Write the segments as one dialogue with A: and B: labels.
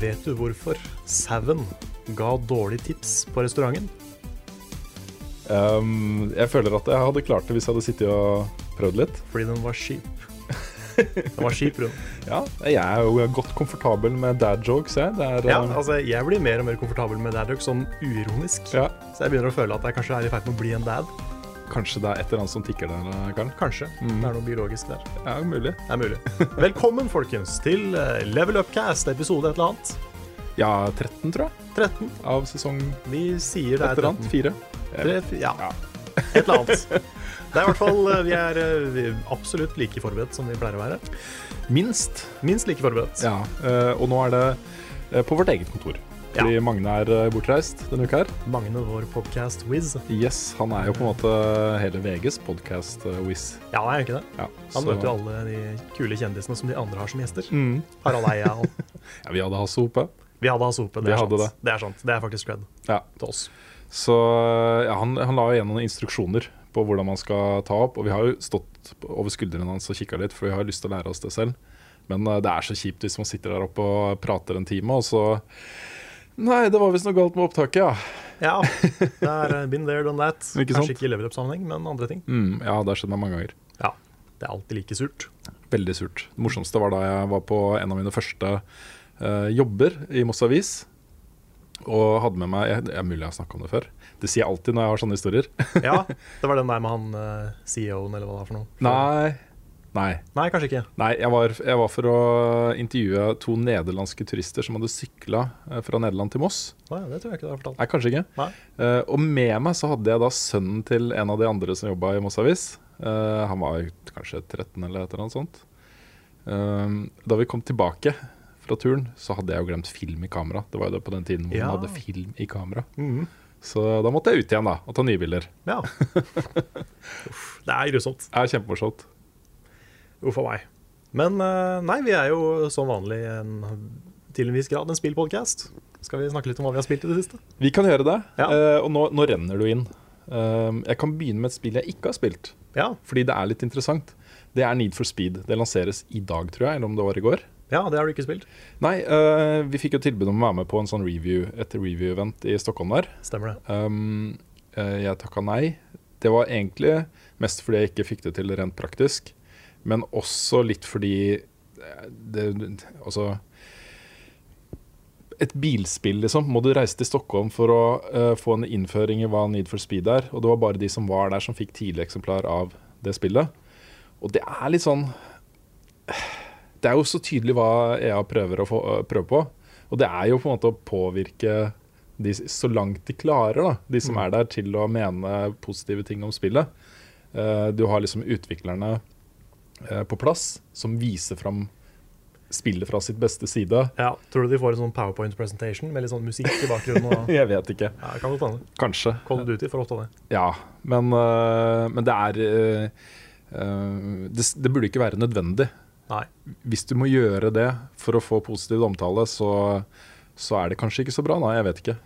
A: Vet du hvorfor sauen ga dårlig tips på restauranten?
B: Ehm, jeg føler at jeg hadde klart det hvis jeg hadde sittet og prøvd litt.
A: Fordi den var skip. Den var skip, Rune.
B: Ja, Jeg er jo godt komfortabel med dad jokes, jeg. Det er,
A: Ja,
B: ehm,
A: altså, jeg blir mer og mer komfortabel med dad jokes, sånn uironisk.
B: ja,
A: Så jeg begynner å føle at jeg kanskje er i ferd med å bli en dad.
B: Kanskje det er et eller annet som tikker der, eh, Karen.
A: Kanskje.
B: Mm.
A: Det er noe biologisk der.
B: Ja, mulig.
A: Det er mulig. Velkommen, folkens, til eh, Level Upcast, episode et eller annet.
B: Ja, 13, tror jeg.
A: 13.
B: Av sesong et
A: Vi sier det er
B: eller annet.
A: 13.
B: Fire.
A: Tre, fi- ja. Et eller annet. Det er i hvert fall eh, Vi er eh, vi er absolutt like forberedt som vi pleier å være.
B: Minst.
A: Minst like forberedt.
B: Ja. eh, og nå er det eh, på vårt eget kontor. Fordi Magne er eh, bortreist denne uka her.
A: Magne, vår podcast-wiz.
B: Yes, han er jo på en måte hele VGs podkast-wiz.
A: Ja, er han ikke det?
B: eh, Ja,
A: Han
B: så-
A: møter jo alle de kule kjendisene som de andre har som gjester.
B: Mm.
A: Harald Eia og
B: Ja, vi hadde Hasse Hope.
A: Vi hadde Hasse Hope. Det,
B: Vi
A: er
B: hadde
A: sant. det er sant. Det er faktisk cred
B: Ja.
A: til oss.
B: Så ja, han, han la jo igjen noen instruksjoner på hvordan man skal ta opp. Og vi har jo stått på- over skuldrene hans og kikka litt, for vi har lyst til å lære oss det selv. Men eh, det er så kjipt hvis man sitter der oppe og prater en time, og så Nei, det var visst noe galt med opptaket, ja.
A: Ja. Det er eh, been there, done that.
B: Ikke sant?
A: Kanskje ikke i level up-sammenheng, men andre ting.
B: Mm, ja, det har skjedd meg mange ganger.
A: Ja. Det er alltid like surt.
B: Veldig surt. Det morsomste var da jeg var på en av mine første eh, jobber i Moss Avis. Og hadde med meg jeg, Det er mulig jeg har snakka om det før. Det sier jeg alltid når jeg har sånne historier.
A: Ja, det var den der med han eh, CEO-en, eller hva det er for noe.
B: Nei. Nei.
A: Nei, kanskje ikke.
B: Nei, jeg var, jeg var for å intervjue to nederlandske turister som hadde sykla eh, fra Nederland til Moss.
A: Nei, det tror jeg ikke du har fortalt.
B: Nei, kanskje ikke.
A: Nei.
B: Eh, og med meg så hadde jeg da sønnen til en av de andre som jobba i Moss Avis. Eh, han var kanskje 13 eller et eller annet sånt. Eh, da vi kom tilbake fra turen, så hadde jeg jo glemt film i kamera. Det var jo det på den tiden hvor
A: Ja.
B: man hadde film i kamera.
A: Mhm.
B: Så da måtte jeg ut igjen da, og ta nye bilder.
A: Ja. Uff, det er grusomt.
B: Det er kjempemorsomt.
A: Uff a meg. Men eh, nei, vi er jo som vanlig en, til en viss grad en spillpodkast. Skal vi snakke litt om hva vi har spilt i det siste?
B: Vi kan gjøre det.
A: Ja.
B: Eh, og nå, nå renner du inn. Eh, jeg kan begynne med et spill jeg ikke har spilt.
A: Ja,
B: fordi det er litt interessant. Det er Need for Speed. Det lanseres i dag, tror jeg, eller om det var i går.
A: ja det har du ikke spilt.
B: Nei, eh, vi fikk jo tilbud om å være med på en sånn review, et review-event i Stockholm der.
A: Stemmer det.
B: Um, eh, jeg takka nei. Det var egentlig mest fordi jeg ikke fikk det til rent praktisk, men også litt fordi det, det- Altså Et bilspill, liksom. Må du reise til Stockholm for å eh, få en innføring i hva Need for Speed er? Og det var bare de som var der, som fikk tidlig eksemplar av det spillet. Og det er litt sånn Det er jo så tydelig hva EA prøver å få, eh, prøve på. Og det er jo på en måte å påvirke de, så langt de klarer, da, de som er der, til å mene positive ting om spillet. Eh, du har liksom utviklerne eh, på plass som viser fram spillet fra sitt beste side.
A: Ja, Tror du de får en sånn powerpoint-presentation med litt sånn musikk i bakgrunnen? Og,
B: Jeg vet ikke.
A: ja, kan godt hende.
B: Kanskje.
A: Call of Duty får ofte det.
B: Ja, men, eh, men det er eh, eh, det, det burde ikke være nødvendig.
A: Nei.
B: Hvis du må gjøre det for å få positiv omtale, så, så er det kanskje ikke så bra. Nei, jeg vet ikke.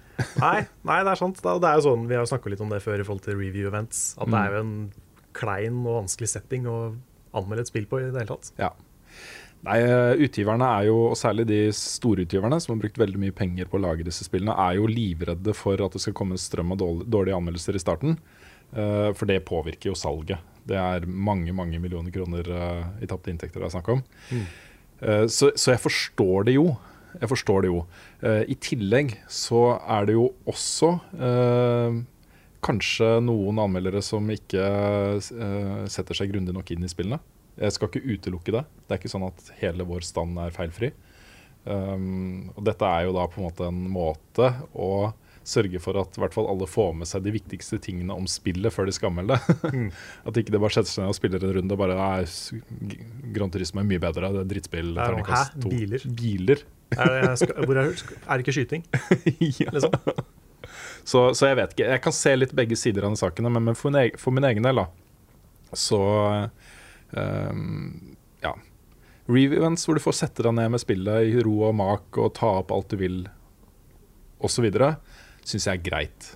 A: Nei, nei, det er sant. Det er- det er jo sånn, vi har jo snakka litt om det før i forhold til review events. At det er jo
B: Mm.
A: en klein og vanskelig setting å anmelde et spill på i det hele tatt.
B: Ja. Nei, eh, utgiverne er jo, og særlig de storutgiverne som har brukt veldig mye penger på å lage disse spillene, er jo livredde for at det skal komme en strøm av dårl- dårlige anmeldelser i starten. Eh, For det påvirker jo salget. Det er mange mange millioner kroner eh, i tapte inntekter det er snakk om. Eh, Så, så jeg forstår det jo. Jeg forstår det jo. Eh, I tillegg så er det jo også eh, kanskje noen anmeldere som ikke eh, setter seg grundig nok inn i spillene. Jeg skal ikke utelukke det. Det er ikke sånn at hele vår stand er feilfri. Um, og dette er jo da på en måte en måte å sørge for at i hvert fall alle får med seg de viktigste tingene om spillet før de skal anmelde det.
A: Mm.
B: At ikke det bare setter seg ned og spiller en runde og bare Nei, s- G- Gran Turismo er mye bedre, det er
A: Det
B: drittspill.
A: er noe,
B: terningkast
A: hæ?
B: to».
A: Biler?
B: Biler.
A: Er det, skal, hvor er, er det ikke skyting?
B: ja.
A: Liksom?
B: Så, så jeg vet ikke. Jeg kan se litt begge sider av den saken, men men for min, eg- for min egen del, da, så ehm, Ja. Review-events hvor du får sette deg ned med spillet i ro og mak og ta opp alt du vil, osv., syns jeg er greit.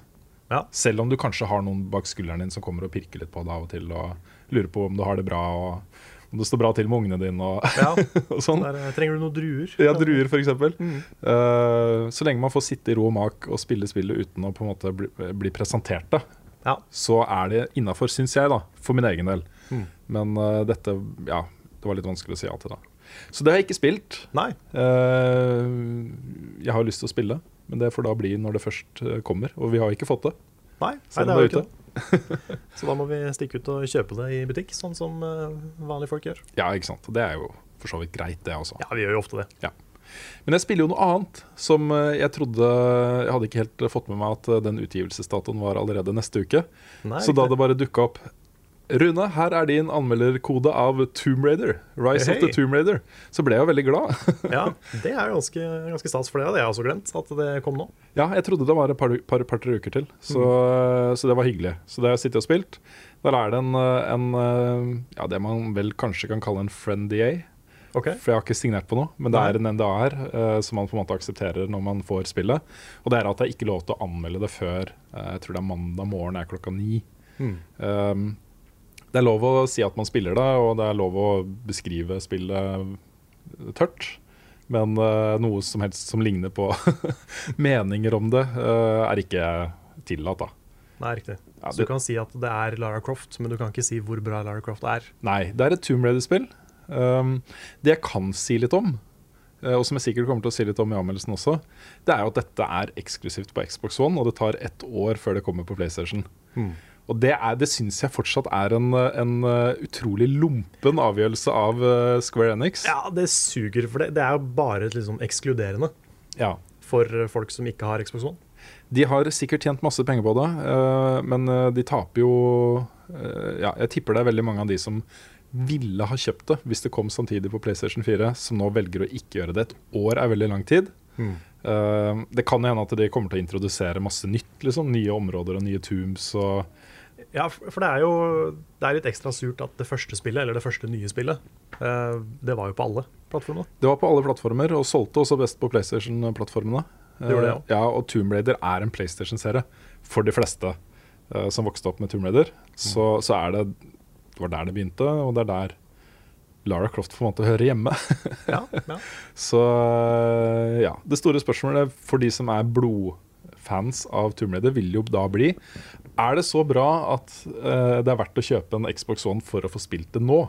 A: Ja.
B: Selv om du kanskje har noen bak skulderen din som kommer og pirker litt på deg av og til og lurer på om du har det bra, og om det står bra til med ungene dine og,
A: Ja.
B: og sånn.
A: Der, eh, trenger du noen Mm. druer?
B: Ja, druer f.eks. Uh, så lenge man får sitte i ro og mak og spille spillet uten å på en måte bli, bli presentert det,
A: Ja.
B: så er det innafor, syns jeg, da, for min egen del.
A: Mm.
B: Men eh, dette ja, det var litt vanskelig å si ja til, da. Så det har jeg ikke spilt.
A: Nei.
B: Eh, jeg har lyst til å spille, men det får da bli når det først eh, kommer. Og vi har ikke fått det.
A: Nei, nei
B: Selv
A: det
B: om
A: er jo
B: det er
A: ikke det. Så da må vi stikke ut og kjøpe det i butikk, sånn som eh, vanlige folk gjør.
B: Ja, ikke sant. Det er jo for så vidt greit, det også.
A: Ja, vi gjør jo ofte det.
B: Ja. Men jeg spiller jo noe annet som eh, jeg trodde Jeg hadde ikke helt fått med meg at eh, den utgivelsesdatoen var allerede neste uke.
A: Nei,
B: så da
A: riktig.
B: det bare dukka opp Rune, her er din anmelderkode av Tomb Raider. Rise
A: Hei.
B: of the Tomb Raider. Så ble jeg jo veldig glad.
A: Ja, Det er jo ganske, ganske stas, for det hadde jeg også glemt at det kom nå.
B: ja, jeg trodde det var et par-tre par, par, tre uker til, så, så det var hyggelig. Så det har jeg sittet og spilt. Der er det en, eh, en eh, Ja, det man vel kanskje kan kalle en friend DA.
A: Ok,
B: For jeg har ikke signert på noe, men det
A: Nei.
B: er en NDA her eh, som man på en måte aksepterer når man får spillet. Og det er at det er ikke lov til å anmelde det før eh, jeg tror det er mandag morgen er klokka ni.
A: Hmm.
B: Um, det er lov å si at man spiller det, og det er lov å beskrive spillet eh, tørt. Men eh, noe som helst som ligner på meninger om det, eh, er ikke tillatt, da.
A: Nei, riktig.
B: Ja,
A: Så du
B: det-
A: kan si at det er Lara Croft, men du kan ikke si hvor bra Lara Croft er.
B: Nei, det er et Tomb Raider-spill. Um, det jeg kan si litt om, eh, og som jeg sikkert kommer til å si litt om i anmeldelsen også, det er jo at dette er eksklusivt på Xbox One, og det tar ett år før det kommer på PlayStation. Og det, er- det syns jeg fortsatt er en, eh, en eh, utrolig lumpen avgjørelse av eh, Square Enix.
A: Ja, det suger, for det, det er jo bare liksom ekskluderende
B: Ja.
A: for eh, folk som ikke har Xbox One.
B: De har sikkert tjent masse penger på det, eh, men eh, de taper jo eh, Ja, jeg tipper det er veldig mange av de som ville ha kjøpt det hvis det kom samtidig på PlayStation 4, som nå velger å ikke gjøre det. Et år er veldig lang tid. Eh, Det kan hende at de kommer til å introdusere masse nytt. liksom Nye områder og nye tombs og
A: Ja, for for det er jo det er litt ekstra surt at det første spillet, eller det første nye spillet, eh, det var jo på alle plattformene.
B: Det var på alle plattformer, og solgte også best på PlayStation-plattformene.
A: Det gjorde det,
B: Eh, ja, Og Tomb Raider er en PlayStation-serie for de fleste eh, som vokste opp med Tomb Raider. Så,
A: Mm.
B: så er det Det var der det begynte, og det er der Lara Croft på en måte hører hjemme.
A: Ja, ja.
B: så eh, ja. Det store spørsmålet for de som er blodfans av Tomb Raider, vil jo da bli Er det så bra at eh, det er verdt å kjøpe en Xbox One for å få spilt det nå?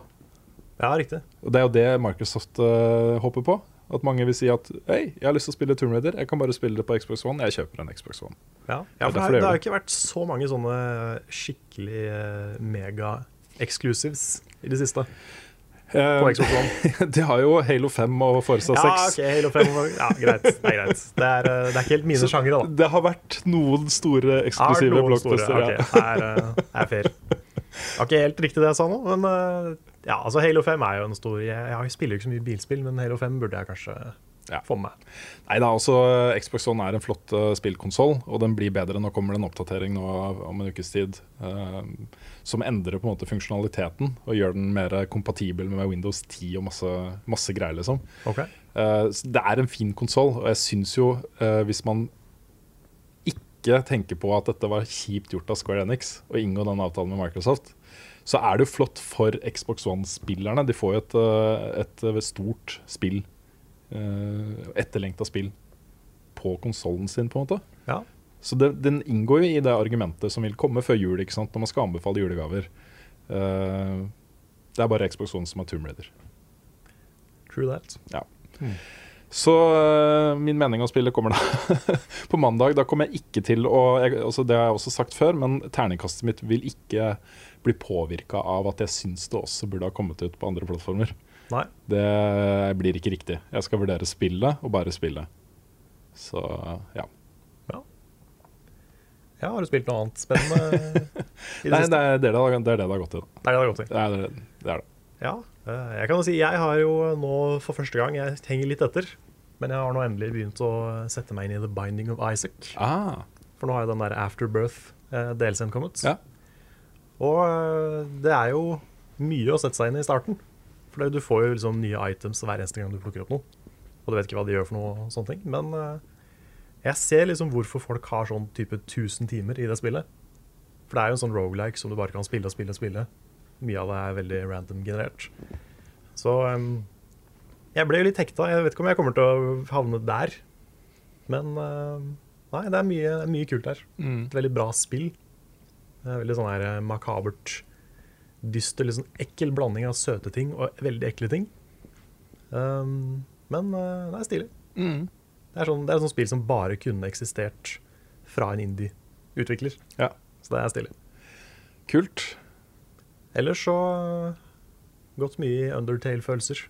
A: ja riktig.
B: Og Det er jo det Microsoft eh, håper på. At mange vil si at Hei, jeg har lyst til å spille Tomb Raider, jeg kan bare spille det på Xbox One. Jeg kjøper en Xbox One.
A: Ja, ja
B: Det er
A: for det,
B: derfor
A: har- det
B: det gjør
A: har jo
B: det.
A: ikke vært så mange sånne skikkelig eh, mega exclusives i det siste. På Xbox One.
B: de Eh, har jo Halo 5 og Forza 6.
A: ok, Halo 5 og- Ja, greit. Det er greit. Det er, eh, det er ikke helt mine sjangere, da.
B: Det har vært noen store
A: Er
B: eksklusive
A: noen
B: blockbuster.
A: store.
B: Ja.
A: Ok, er, eh, er fair. Det var ikke helt riktig det jeg sa nå, men eh, ja, altså Halo 5 er jo en stor Jeg, jeg spiller jo ikke så mye bilspill, men Halo 5 burde jeg kanskje
B: Ja.
A: for meg.
B: Nei, da, også eh, Xbox One er en flott uh, spillkonsoll, og den blir bedre. Nå kommer det en oppdatering nå av- om en ukes tid eh, som endrer på en måte funksjonaliteten og gjør den mer kompatibel med Windows 10 og masse, masse greier. liksom.
A: Ok.
B: Eh, så det er en fin konsoll, og jeg syns jo, eh, hvis man ikke tenker på at dette var kjipt gjort av Square Enix å inngå den avtalen med Microsoft, så er det jo flott for Xbox One-spillerne. De får jo et, eh, et eh, stort spill, eh, etterlengta spill, på konsollen sin, på en måte.
A: Ja.
B: Så det, den inngår jo i det argumentet som vil komme før jul, ikke sant, når man skal anbefale julegaver. Eh, det er bare Xbox One som har Tomb Raider.
A: True that.
B: Så øh, min mening om spillet kommer da på mandag. Da kommer jeg ikke til å jeg, altså Det har jeg også sagt før, men terningkastet mitt vil ikke bli påvirka av at jeg syns det også burde ha kommet ut på andre plattformer.
A: Nei.
B: Det blir ikke riktig. Jeg skal vurdere spillet, og bare spillet. Så ja.
A: Ja, har du spilt noe annet spennende? i
B: Nei,
A: siste?
B: det er det det har, det, er det det har gått til.
A: Nei, det er godt. tenkt.
B: Det er det det. Er det.
A: Ja, eh, jeg kan jo si jeg har jo nå for første gang Jeg henger litt etter. Men jeg har nå endelig begynt å sette meg inn i The Binding of Isaac.
B: Ah,
A: For nå har jo den der Afterbirth-delscenen kommet.
B: Ja.
A: Og eh, det er jo mye å sette seg inn i i starten. For det- du får jo liksom nye items hver eneste gang du plukker opp noe. Og du vet ikke hva de gjør for noe og sånne ting. Men eh, jeg ser liksom hvorfor folk har sånn type 1000 timer i det spillet. For det er jo en sånn roguelike som du bare kan spille og spille og spille. Mye av det er veldig random generert. Så eh, jeg ble jo litt hekta. Jeg vet ikke om jeg kommer til å havne der. Men eh, Nei, det er mye, det er mye kult her. Et veldig bra spill. Det er veldig sånn her eh, makabert, dyster, litt sånn ekkel blanding av søte ting og veldig ekle ting. Um, men eh, det er stilig.
B: Mm.
A: Det er sånn, det er et sånt spill som bare kunne eksistert fra en indie-utvikler.
B: Ja.
A: Så det er stilig.
B: kult.
A: Ellers så eh, gått mye i Undertale-følelser.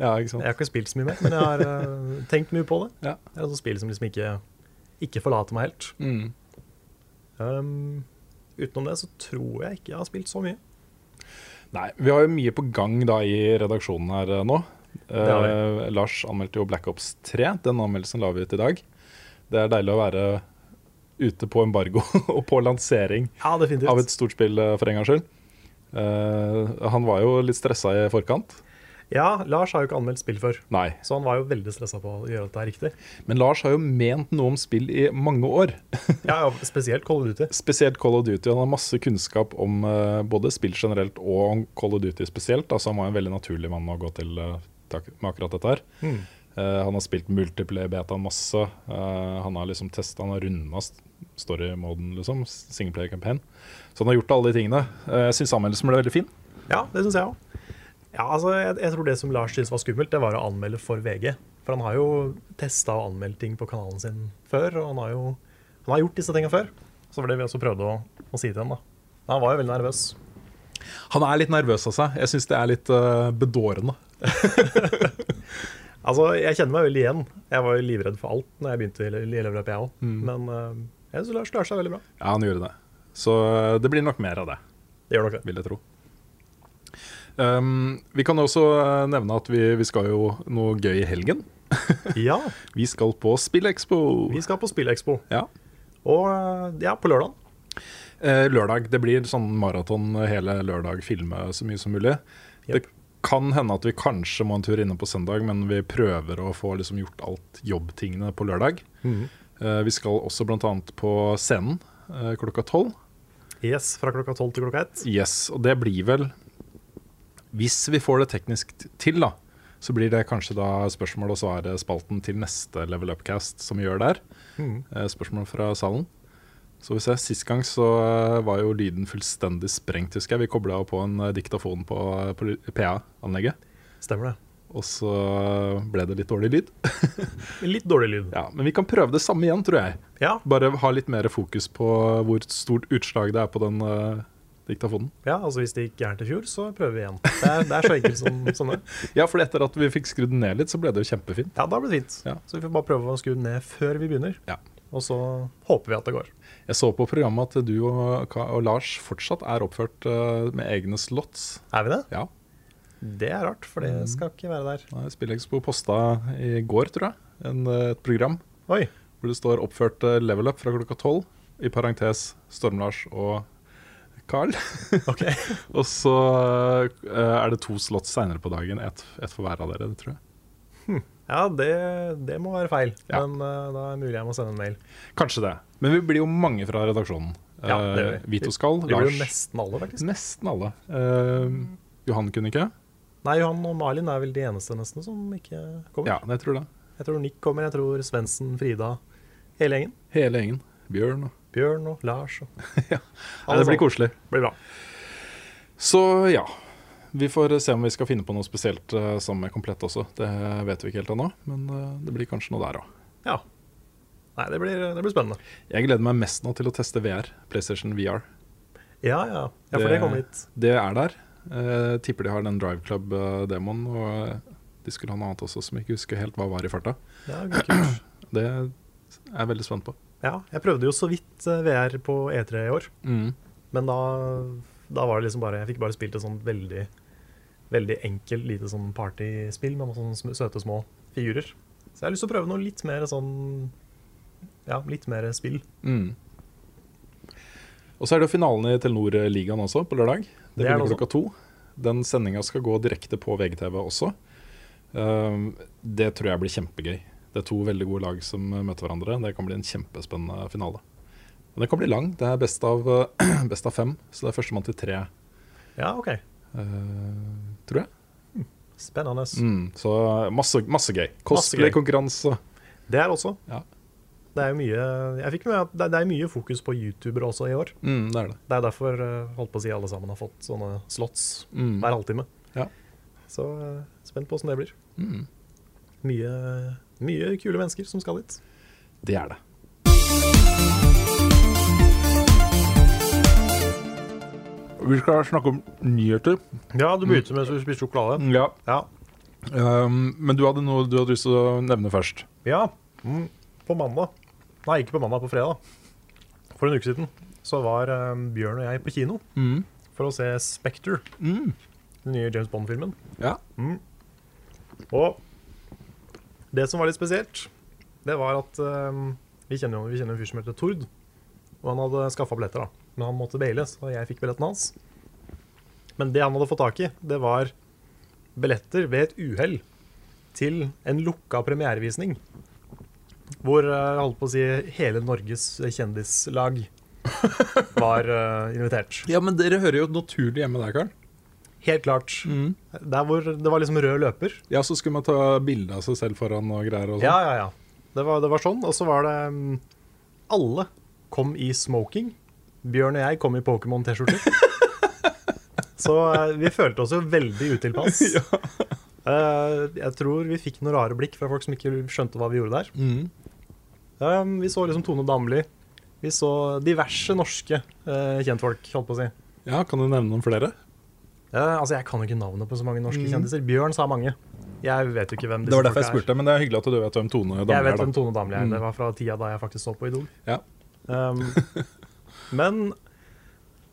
B: Ja, ikke
A: Jeg
B: sant.
A: har ikke spilt så mye mer, men jeg har eh, tenkt mye på det.
B: Ja.
A: Det er et sånt spill som liksom ikke, ikke forlater meg helt.
B: Mm.
A: Um, utenom det så tror jeg ikke jeg har spilt så mye.
B: Nei, vi har jo mye på gang da i redaksjonen her eh, nå.
A: har
B: Eh, Lars anmeldte jo Black Ops 3. Den anmeldelsen la vi ut i dag. Det er deilig å være ute på embargo og på lansering
A: Ja, definitivt.
B: av et stort spill eh, for en gangs skyld. Eh, han var jo litt stressa i forkant.
A: Ja, Lars har jo ikke anmeldt spill før,
B: Nei.
A: så han var jo veldig stressa på å gjøre dette her riktig.
B: Men Lars har jo ment noe om spill i mange år.
A: Ja, ja, Spesielt Call of Duty.
B: Spesielt Call of Duty. Han har masse kunnskap om eh, både spill generelt og om Call of Duty spesielt. Altså, han var en veldig naturlig mann å gå til eh, tak- med akkurat dette her. Eh, han har spilt multiplayer-betaen masse. Eh, han har liksom testet, han har runda story-moden, liksom. Singleplayer-campaign. Så han har gjort alle de tingene. Eh, jeg syns anmeldelsen ble veldig fin.
A: Ja, det syns jeg òg. Ja, altså, jeg, jeg tror det som Lars syntes var skummelt, det var å anmelde for VG. For han har jo testa og anmeldt ting på kanalen sin før, og han har jo han har gjort disse tinga før. Så var det vi også prøvde å, å si til ham, da. Men han var jo veldig nervøs.
B: Han er litt nervøs av seg. Jeg syns det er litt eh, bedårende.
A: Altså, jeg kjenner meg veldig igjen. Jeg var jo livredd for alt når jeg begynte i le- i leveløpet, jeg òg. Men eh, jeg syns Lars klarte seg veldig bra.
B: Ja, han gjorde det. Så eh, det blir nok mer av det.
A: Det gjør nok det.
B: vil jeg tro. Um, vi kan også eh, nevne at vi, vi skal jo noe gøy i helgen.
A: Ja,
B: Vi skal på Spillekspo.
A: vi skal på Spillekspo.
B: Ja.
A: Og eh, ja, på lørdag.
B: Eh, lørdag. Det blir sånn maraton hele lørdag, filme så mye som mulig.
A: Jep.
B: Det kan hende at vi kanskje må en tur innom på søndag, men vi prøver å få liksom gjort alt jobbtingene på lørdag.
A: Mhm.
B: Eh, vi skal også bl.a. på scenen eh, klokka tolv.
A: Yes, fra klokka tolv til klokka ett.
B: Yes, og det blir vel Hvis vi får det teknisk t- til, da, så blir det kanskje da spørsmål og svar-spalten til neste Level Upcast som vi gjør der. Eh, Spørsmål fra salen. Så vi ser, Sist gang så eh, var jo lyden fullstendig sprengt, husker jeg. Vi kobla på en eh, diktafon på, eh, på PA-anlegget,
A: Stemmer det.
B: og så eh, ble det litt dårlig lyd.
A: Litt dårlig lyd.
B: Ja, Men vi kan prøve det samme igjen, tror jeg.
A: Ja,
B: Bare ha litt mer fokus på hvor stort utslag det er på den eh, diktafonen.
A: ja altså hvis det gikk gærent i fjor, så prøver vi igjen. Det er, det er så enkelt som, som det.
B: Ja, for etter at vi fikk skrudd den ned litt, så ble det jo kjempefint.
A: Ja, da blir det fint.
B: Ja.
A: Så vi får bare prøve å skru den ned før vi begynner.
B: Ja.
A: Og så håper vi at det går.
B: Jeg så på programmet at du og, Ka- og Lars fortsatt er oppført eh, med egne slots.
A: Er vi det?
B: Ja.
A: Det er rart, for det skal ikke være der.
B: Nei, Spillekspo posta i går, tror jeg, en, eh, et program
A: Oi.
B: hvor det står oppført eh, level up fra klokka tolv, i parentes Storm-Lars og Carl.
A: Ok.
B: og så eh, er det to slott seinere på dagen, ett et for hver av dere, det tror jeg.
A: Ja, det, det må være feil.
B: Ja.
A: Men eh, da er det mulig jeg må sende en mail.
B: Kanskje det. Men vi blir jo mange fra redaksjonen.
A: Ja, det gjør
B: Eh,
A: vi.
B: Vito Skall,
A: Det blir jo
B: Lars
A: nesten alle, faktisk.
B: Nesten alle. Eh, Johan kunne ikke?
A: Nei, Johan og Malin er vel de eneste nesten som ikke kommer.
B: Ja, jeg tror det.
A: Jeg tror Nick kommer, jeg tror Svendsen, Frida, hele gjengen.
B: Hele gjengen. Bjørn og
A: Bjørn og Lars og
B: Nei, Det blir koselig.
A: Blir bra.
B: Så ja. Vi får se om vi skal finne på noe spesielt eh, sammen med Komplett også. Det vet vi ikke helt ennå, men eh, det blir kanskje noe der òg.
A: Ja. Nei, det blir, det blir spennende.
B: Jeg gleder meg mest nå til å teste VR. PlayStation VR.
A: Ja, ja. Ja, for det, kommer hit.
B: Det er der. Eh, tipper de har den Drive Club-demoen. Og eh, de skulle ha noe annet også som jeg ikke husker helt hva var i farta.
A: Ja, gud, kult.
B: Det er jeg veldig spent på.
A: ja, jeg prøvde jo så vidt eh, VR på E3 i år,
B: Mm.
A: men da, da var det liksom bare Jeg fikk bare spilt et sånt veldig Veldig enkelt, lite sånn partyspill med masse sånne sm- søte små figurer. Så jeg har lyst til å prøve noe litt mer sånn Ja, litt mer spill.
B: Mm. Og så er det jo finalen i Telenor-ligaen også på lørdag. Det
A: Det er det
B: begynner
A: også.
B: klokka to. Den sendinga skal gå direkte på VGTV også. Um, det tror jeg blir kjempegøy. Det er to veldig gode lag som uh, møter hverandre. Det kan bli en kjempespennende finale. Men den kan bli lang. Det er best av, uh, best av fem, så det er førstemann til tre,
A: Ja, OK.
B: uh, tror jeg.
A: Spennende.
B: Mm, så masse, masse gøy.
A: gøy.
B: Kostelig konkurranse.
A: Det er også.
B: Ja.
A: Det er jo mye Jeg fikk med at det, det er mye fokus på youtubere også i år.
B: Mm, det er det.
A: Det er derfor eh, holdt på å si alle sammen har fått sånne slots
B: Mm.
A: hver halvtime.
B: Ja.
A: Så eh, spent på åssen det blir.
B: Mm.
A: Mye, mye kule mennesker som skal dit.
B: Det er det. Vi skal snakke om nyheter.
A: Ja, du begynte med å spise sjokolade.
B: Ja.
A: Ja.
B: Um, men du hadde noe du hadde lyst til å nevne først.
A: ja. Mm. På mandag Nei, ikke på mandag, på fredag. For en uke siden så var eh, Bjørn og jeg på kino for å se Spekter, den nye James Bond-filmen. Mm.
B: Ja.
A: Og det som var litt spesielt, det var at eh, vi, kjenner, jo- vi kjenner en fyr som heter Tord. Og han hadde skaffa billetter, da. Men han måtte baile, så jeg fikk billetten hans. Men det han hadde fått tak i, det var billetter ved et uhell til en lukka premierevisning. Hvor eh, jeg holdt på å si hele Norges kjendislag var eh, invitert.
B: ja, men dere hører jo naturlig hjemme der, Karl.
A: Helt klart.
B: Mm.
A: Der hvor det var liksom rød løper.
B: Ja, så skulle man ta bilde av seg selv foran og greier og sånn.
A: Ja, ja, ja. Det var, det var sånn. Og så var det mm, Alle kom i smoking. Bjørn og jeg kom i Pokémon-T-skjorter. så eh, vi følte oss jo veldig utilpass. Eh, jeg tror vi fikk noen rare blikk fra folk som ikke skjønte hva vi gjorde der.
B: Mhm.
A: Eh, vi så liksom Tone Damli. Vi så diverse norske eh, kjentfolk, holdt på å si.
B: Ja, kan du nevne noen flere?
A: Eh, altså, Jeg kan jo ikke navnet på så mange norske kjendiser. Bjørn sa mange. Jeg vet jo ikke hvem disse
B: Mm. Det var derfor jeg
A: folka er.
B: spurte, men det er hyggelig at du vet hvem Tone Damli
A: Jeg
B: er.
A: vet
B: da. Mm.
A: hvem Tone Damli er. Det var fra tida da jeg faktisk så på Idol.
B: Ja.
A: Um, men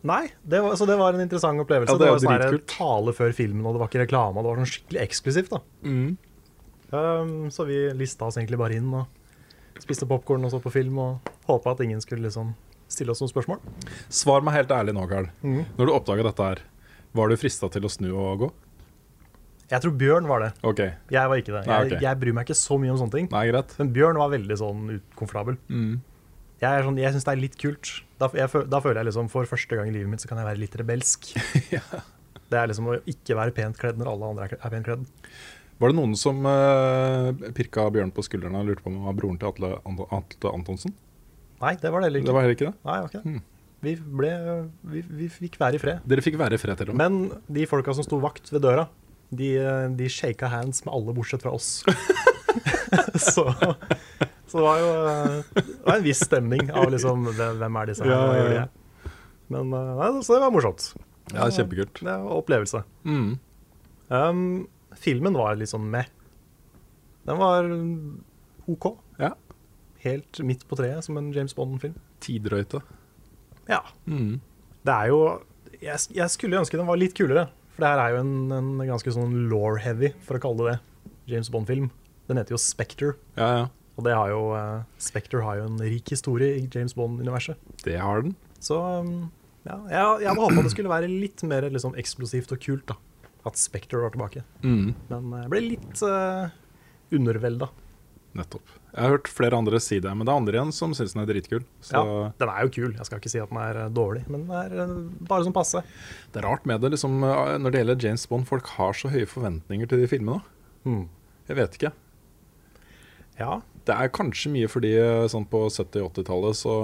A: Nei, det var, så det var en interessant opplevelse.
B: Ja, det
A: det,
B: er
A: var
B: jo
A: sånn her
B: dritkult.
A: tale før filmen, og det var ikke reklame. og Det var sånn skikkelig eksklusivt. da.
B: Mm.
A: Um, så vi lista oss egentlig bare inn og spiste popkorn og så på film og håpa at ingen skulle liksom stille oss noen spørsmål.
B: Svar meg helt ærlig nå, Karl.
A: Mm.
B: Når du oppdaga dette her, var du frista til å snu og gå?
A: Jeg tror Bjørn var det.
B: OK.
A: Jeg var ikke det. Jeg,
B: Nei, ok.
A: jeg bryr meg ikke så mye om sånne ting.
B: Nei, greit.
A: Men Bjørn var veldig sånn ukomfortabel.
B: Mm.
A: Jeg, er sånn, jeg syns det er litt kult. Da, jeg, fø- da føler jeg liksom for første gang i livet mitt så kan jeg være litt rebelsk. Det er liksom å ikke være pent kledd når alle andre er, er pent kledd.
B: Var det noen som eh, pirka Bjørn på skuldrene og lurte på om han var broren til Atle, Ant- Atle Antonsen?
A: Nei, det var det heller
B: Det
A: ikke.
B: var Mm. heller ikke det.
A: Nei, det var ikke det. Vi, ble, vi, vi fikk være i fred.
B: Dere fikk være i fred til og med.
A: Men de folka som sto vakt ved døra, de, de shaka hands med alle bortsett fra oss. så, så det var jo det var en viss stemning av liksom Hvem er disse her?
B: Ja,
A: Hva
B: ja,
A: gjør
B: ja.
A: de? Men eh, nei, så det var morsomt.
B: Ja, Kjempekult.
A: Det var opplevelse.
B: Mm.
A: Um, filmen var litt sånn meh. Den var OK.
B: Ja.
A: Helt midt på treet, som en James Bond-film.
B: Tidrøyte.
A: Ja. Det er jo jeg, jeg skulle ønske den var litt kulere. For det her er jo en, en ganske sånn law-heavy, for å kalle det det, James Bond-film. Den heter jo Spectre,
B: Ja, ja.
A: og det har jo, eh, Spectre har jo en rik historie i James Bond-universet.
B: Det har den.
A: Så um, ja, jeg, jeg hadde håpa det skulle være litt mer liksom, eksplosivt og kult, da. At Spectre var tilbake. Men eh, jeg ble litt uh, undervelda.
B: Nettopp. Jeg har hørt flere andre si det, men det er andre igjen som syns den er dritkul. Så
A: Ja, den er jo kul, jeg skal ikke si at den er eh, dårlig, men den er eh, bare som passe.
B: det er rart med det liksom, eh, når det gjelder James Bond. Folk har så høye forventninger til de filmene.
A: Mm.
B: Jeg vet ikke.
A: Ja,
B: Det er kanskje mye fordi eh, sånn på 70-80-tallet så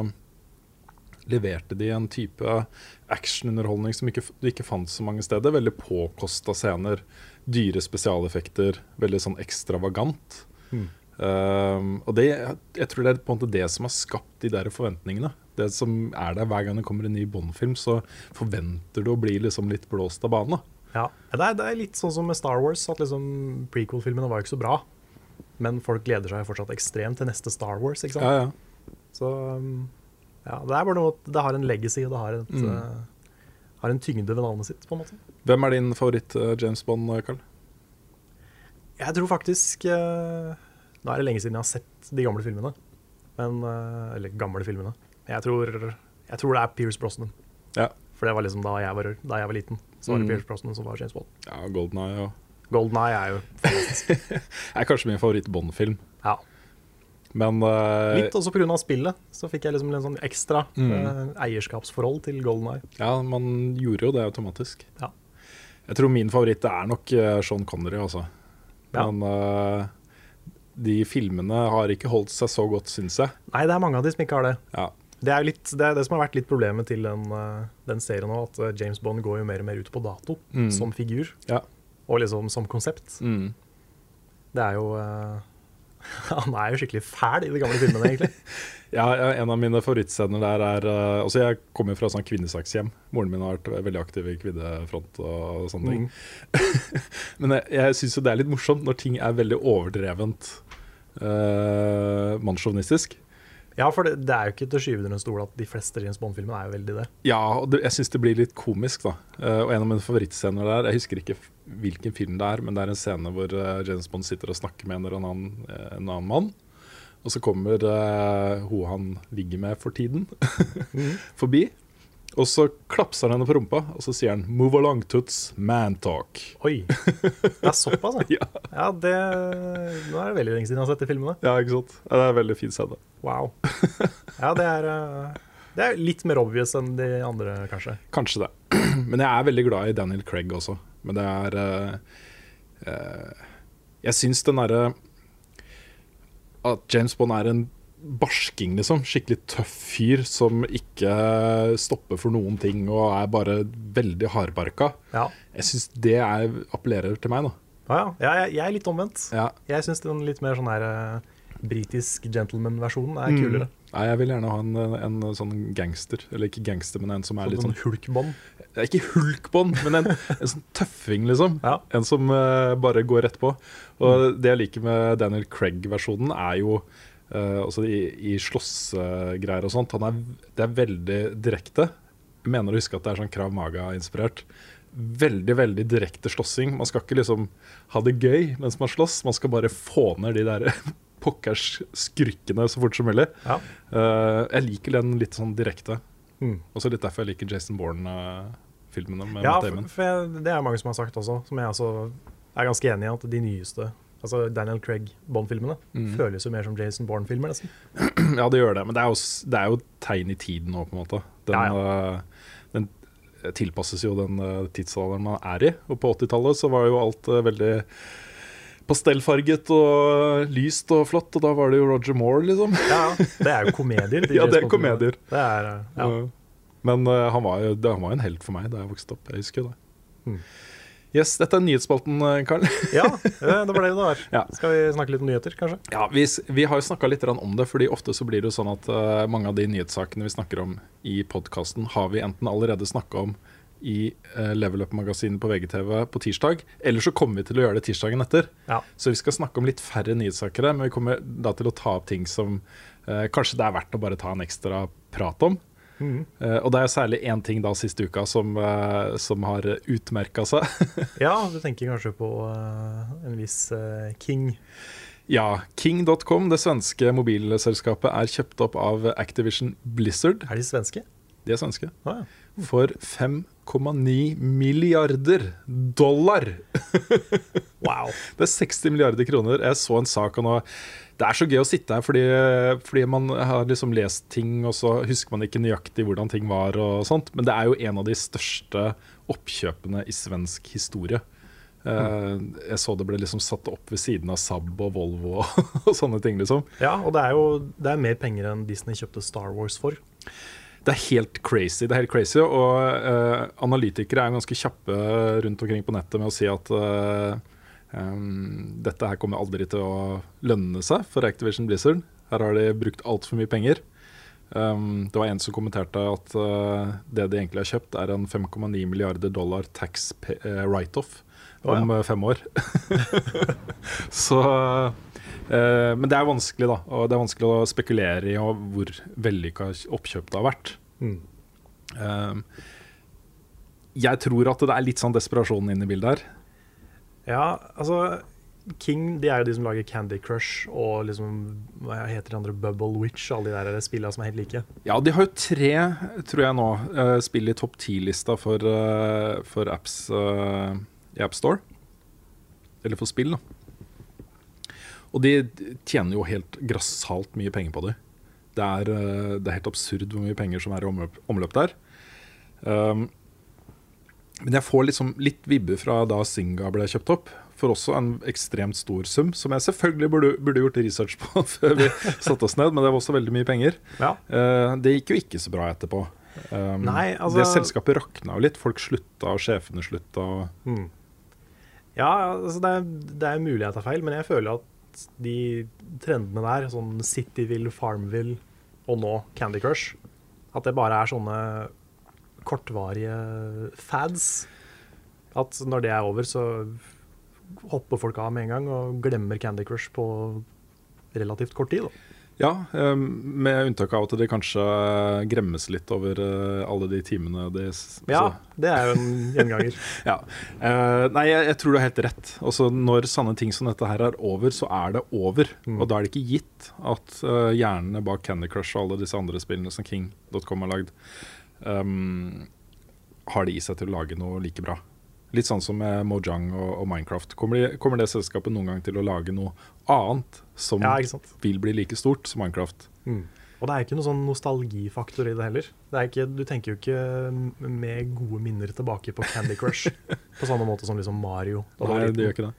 B: leverte de en type actionunderholdning som ikke, f- du ikke fant så mange steder. Veldig påkosta scener, dyre spesialeffekter, veldig sånn ekstravagant. Um, og det, jeg tror det er på en måte det som har skapt de der forventningene. Det som er der Hver gang det kommer en ny Bond-film, så forventer du å bli liksom litt blåst av banen. da.
A: Ja, det er, det er litt sånn som med Star Wars, at liksom prequel-filmene var jo ikke så bra. Men folk gleder seg fortsatt ekstremt til neste Star Wars, ikke sant.
B: Ja, ja.
A: Så um, ja, det er bare noe at det har en legacy, og det har, et, eh, har en tyngde ved navnet sitt, på en måte.
B: Hvem er din favoritt eh, James Bond, Carl?
A: Jeg tror faktisk eh, Nå er det lenge siden jeg har sett de gamle filmene. Men, eh, eller gamle filmene. Jeg tror, jeg tror det er Pierce Brosnan.
B: Ja.
A: For det var liksom da jeg var, da jeg var liten. Så var det Pierce Brosnan som var James Bond.
B: ja Golden Eye og
A: Golden Eye er jo
B: er kanskje min favoritt Bond-film.
A: ja,
B: Men eh, Mm.
A: Litt også pga. spillet, så fikk jeg liksom en sånn ekstra eh, eierskapsforhold til Golden Eye.
B: ja, man gjorde jo det automatisk.
A: Ja.
B: Jeg tror min favoritt er nok eh, Sean Connery, altså.
A: Ja.
B: Men eh, de filmene har ikke holdt seg så godt, syns jeg.
A: Nei, det er mange av de som ikke har det.
B: Ja.
A: Det er jo litt, det, er det som har vært litt problemet til den, eh, den serien nå, at eh, James Bond går jo mer og mer ut på dato som figur,
B: Mm. Ja.
A: og liksom som konsept.
B: Mm.
A: Det er jo eh, Han er jo skikkelig fæl i de gamle filmene, egentlig.
B: Ja, ja, en av mine favorittscener der er eh, Altså, jeg kommer jo fra sånn kvinnesakshjem. Moren min har vært veldig aktiv i kvinnefront og sånne ting.
A: Mm.
B: Men jeg, jeg syns jo det er litt morsomt når ting er veldig overdrevent uh, mannssjåvinistisk.
A: Ja, for det, det er jo ikke til å skyve under en stol at de fleste James Bond-filmene er jo veldig det.
B: Ja, og det, jeg syns det blir litt komisk, da. Eh, og en av mine favorittscener der, jeg husker ikke f- hvilken film det er, men det er en scene hvor eh, James Bond sitter og snakker med en eller annen, eh, en annen mann. Og så kommer eh, hun han ligger med for tiden, Mm. forbi. Og så klapser han henne på rumpa, og så sier han 'move along, toots, man talk'.
A: Oi! Det er såpass, ja.
B: Ja,
A: ja det, nå er det veldig lenge siden jeg har sett de filmene.
B: ja ikke sant? Ja, det er en veldig fin scene.
A: Wow. Ja, det er, eh, det er litt mer obvious enn de andre, kanskje.
B: Kanskje det. Men jeg er veldig glad i Daniel Craig også. Men det er eh, eh, Jeg syns den derre At James Bond er en barsking, liksom. Skikkelig tøff fyr som ikke stopper for noen ting og er bare veldig hardbarka.
A: Ja,
B: Jeg syns det er, appellerer til meg, da.
A: ja, ja. ja jeg, jeg er litt omvendt.
B: Ja.
A: Jeg syns den litt mer sånn her eh, britisk gentleman-versjonen
B: Mm.
A: er kulere.
B: Nei, jeg vil gjerne ha en, en sånn gangster. Eller ikke gangster, men en som er litt
A: Sånn
B: sånn
A: hulkbånd.
B: Det er ikke hulkbånd, men en, en sånn tøffing, liksom.
A: Ja.
B: En som eh, bare går rett på. Og det jeg liker med Daniel Craig-versjonen, er jo eh, også i, i slåssgreier og sånt. Han er, det er veldig direkte. Jeg mener å huske at det er sånn Krav Maga-inspirert. Veldig veldig direkte slåssing. Man skal ikke liksom ha det gøy mens man slåss, man skal bare få ned de der pokkers skurkene så fort som mulig.
A: Ja.
B: Eh, jeg liker den litt sånn direkte.
A: Mm.
B: Også litt derfor jeg liker Jason Bourne-filmene med
A: Ja,
B: Matt
A: for,
B: Damon.
A: for jeg, det er mange som har sagt også, som jeg også er ganske enig i, at de nyeste Altså Daniel Craig-Bond-filmene
B: Mm.
A: føles jo mer som Jason Bourne-filmer, nesten.
B: Ja, det gjør det, men det er jo, s- det er jo et tegn i tiden nå, på en måte. Den,
A: Ja,
B: eh, den tilpasses jo den eh, tidsalderen man er i, og på 80-tallet så var jo alt eh, veldig pastellfarget og eh, lyst og flott, og da var det jo Roger Moore, liksom.
A: Ja, ja. Det er jo komedier. de
B: Ja, det er
A: James Bond-filmene.
B: komedier.
A: Det er, eh, ja.
B: Men eh, han, var jo, det- han var jo en helt for meg da jeg vokste opp, jeg husker jo det.
A: Mm.
B: Yes, dette er nyhetsspalten, eh, Karl.
A: ja, eh, det var det det var.
B: Ja.
A: Skal vi snakke litt om nyheter, kanskje?
B: Ja, vi, s- vi har jo snakka litt grann om det, fordi ofte så blir det jo sånn at eh, mange av de nyhetssakene vi snakker om i podkasten, har vi enten allerede snakka om i eh, Level Up-magasinet på VGTV på tirsdag, eller så kommer vi til å gjøre det tirsdagen etter.
A: Ja.
B: Så vi skal snakke om litt færre nyhetssaker, men vi kommer da til å ta opp ting som eh, kanskje det er verdt å bare ta en ekstra prat om. Eh, og det er jo særlig én ting da siste uka som, eh, som har utmerka seg.
A: Ja, du tenker kanskje på eh, en viss eh, King.
B: ja, King.com, det svenske mobilselskapet, er kjøpt opp av Activision Blizzard.
A: Er de svenske?
B: De er svenske.
A: Ah, ja.
B: For 5,9 milliarder dollar! wow. Det er 60 milliarder kroner. Jeg så en sak og nå Det er så gøy å sitte her, fordi, fordi man har liksom lest ting, og så husker man ikke nøyaktig hvordan ting var og sånt. Men det er jo en av de største oppkjøpene i svensk historie. Eh, Jeg så det ble liksom satt opp ved siden av Saab og Volvo og, og sånne ting, liksom.
A: ja, og det er jo det er mer penger enn Disney kjøpte Star Wars for.
B: Det er helt crazy. det er helt crazy, Og eh, analytikere er ganske kjappe rundt omkring på nettet med å si at eh, em, dette her kommer aldri til å lønne seg for Activision Blizzard. Her har de brukt altfor mye penger. Um, det var en som kommenterte at eh, det de egentlig har kjøpt, er en 5,9 milliarder dollar tax pe- eh, write-off
A: Å, ja.
B: om eh, fem år. Så eh, Men det er vanskelig, da. Og det er vanskelig å spekulere i og hvor vellykka oppkjøp det har vært. Eh, jeg tror at det er litt sånn desperasjon inne i bildet her.
A: Ja, altså King de er jo de som lager Candy Crush og liksom, hva heter de andre Bubble Witch alle de der spillene som er helt like.
B: Ja, de har jo tre, tror jeg nå, eh, spill i topp ti-lista for, eh, for apps eh, i AppStore. Eller for spill, da. Og de tjener jo helt grassat mye penger på det. Det er, eh, det er helt absurd hvor mye penger som er i omløp, omløp der. Um, men jeg får liksom litt vibber fra da Singa ble kjøpt opp, for også en ekstremt stor sum, som jeg selvfølgelig burde, burde gjort research på før vi satte oss ned, men det var også veldig mye penger.
A: Ja.
B: Eh, det gikk jo ikke så bra etterpå. Um,
A: Nei, altså-
B: Det selskapet rakna jo litt. Folk slutta, og sjefene slutta. og-
A: Ja, altså det er, det er mulig jeg tar feil, men jeg føler at de trendene der, sånn Cityville, Farmville og nå Candy Crush, at det bare er sånne kortvarige fads. At når det er over, så hopper folk av med en gang og glemmer Candy Crush på relativt kort tid. Da.
B: Ja, um, med unntak av at de kanskje gremmes litt over eh, alle de timene de s- altså,
A: Ja,
B: så-
A: det er jo en gjenganger.
B: Ja. Eh, nei, jeg, jeg tror du har helt rett. Altså, når sanne ting som dette her er over, så er det over.
A: Mm.
B: Og da er det ikke gitt at eh, hjernene bak Candy Crush og alle disse andre spillene som King.com har lagd, ehm, har det i seg til å lage noe like bra. Litt sånn som med Mojang og, og Minecraft. Kommer, de, kommer det selskapet noen gang til å lage noe annet som
A: Ja, ikke sant.
B: vil bli like stort som Minecraft?
A: Mm. Og det er ikke noen sånn nostalgifaktor i det heller. Det er ikke, du tenker jo ikke med gode minner tilbake på Candy Crush på samme måte som liksom Mario. da du var
B: Nei,
A: liten.
B: det gjør ikke det.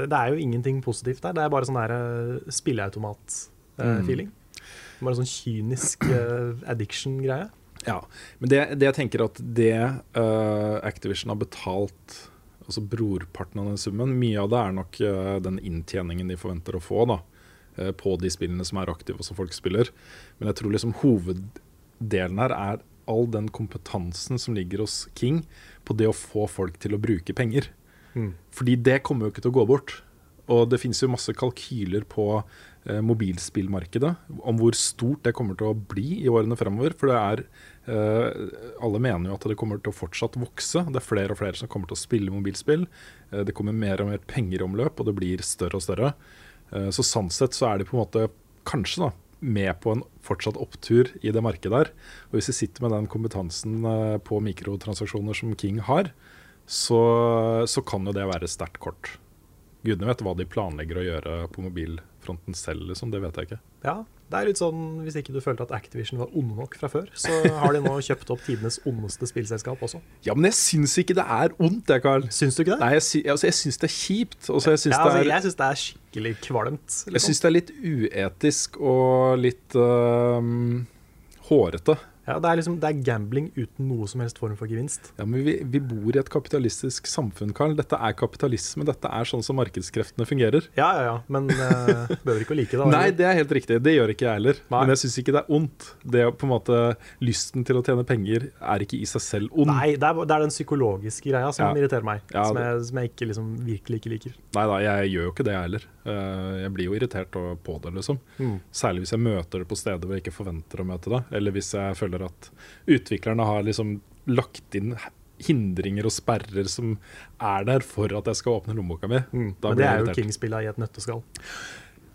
A: det, det er jo ingenting positivt der. Det er bare sånn der eh,
B: Mm.
A: spilleautomat-feeling. Bare sånn kynisk eh, addiction-greie.
B: Ja, men det, det jeg tenker at det eh, Activision har betalt Altså brorparten av den summen Mye av det er nok eh, den inntjeningen de forventer å få da eh, På de spillene som er aktive og som folk spiller Men jeg tror liksom hoveddelen her er All den kompetansen som ligger hos King På det å få folk til å bruke penger fordi det kommer jo ikke til å gå bort. Og det finnes jo masse kalkyler på eh, mobilspillmarkedet om hvor stort det kommer til å bli i årene fremover. For det er eh, Alle mener jo at det kommer til å fortsatt vokse. Det er flere og flere som kommer til å spille mobilspill. Eh, det kommer mer og mer penger i omløp, og det blir større og større. Eh, så sånn sett så er de på en måte kanskje da med på en fortsatt opptur i det markedet der. Og hvis de sitter med den kompetansen eh, på mikrotransaksjoner som King har, så, så kan jo det være sterkt kort. Gudene vet hva de planlegger å gjøre på mobilfronten selv, liksom. Det vet jeg ikke.
A: Ja, det er litt sånn hvis ikke du følte at Activision var onde nok fra før, så har de nå kjøpt opp tidenes ondeste spillselskap også.
B: Ja, men jeg syns ikke det er ondt, jeg, Carl.
A: Syns du ikke det?
B: Nei, jeg, sy altså, jeg syns det er kjipt. Og så jeg syns
A: ja, altså,
B: det er
A: jeg syns det er skikkelig kvalmt. liksom.
B: Jeg syns det er litt uetisk og litt øhm, hårete.
A: Ja, det er liksom det er gambling uten noe som helst form for gevinst.
B: Ja, men vi, vi bor i et kapitalistisk samfunn, Carl. Dette er kapitalisme. Dette er sånn som markedskreftene fungerer.
A: Ja, ja, ja, men eh, behøver ikke å like det. da.
B: Nei, det er helt riktig. Det gjør ikke jeg heller.
A: Nei.
B: Men jeg syns ikke det er ondt. Det å på en måte Lysten til å tjene penger er ikke i seg selv ond.
A: Nei, det er, det er den psykologiske greia som
B: Ja.
A: irriterer meg,
B: Ja,
A: som,
B: det-
A: jeg, som jeg ikke liksom virkelig ikke liker.
B: Nei da, jeg gjør jo ikke det jeg heller. Eh, Jeg blir jo
A: Mm.
B: irritert og- på det, liksom. Særlig hvis jeg møter det på steder hvor jeg ikke forventer å møte det, eller hvis jeg føler føler at utviklerne har liksom lagt inn hindringer og sperrer som er der for at jeg skal åpne lommeboka mi. Da
A: Mm. Men
B: blir
A: det
B: jeg
A: er jo
B: irritert.
A: King-spilla i et nøtteskall.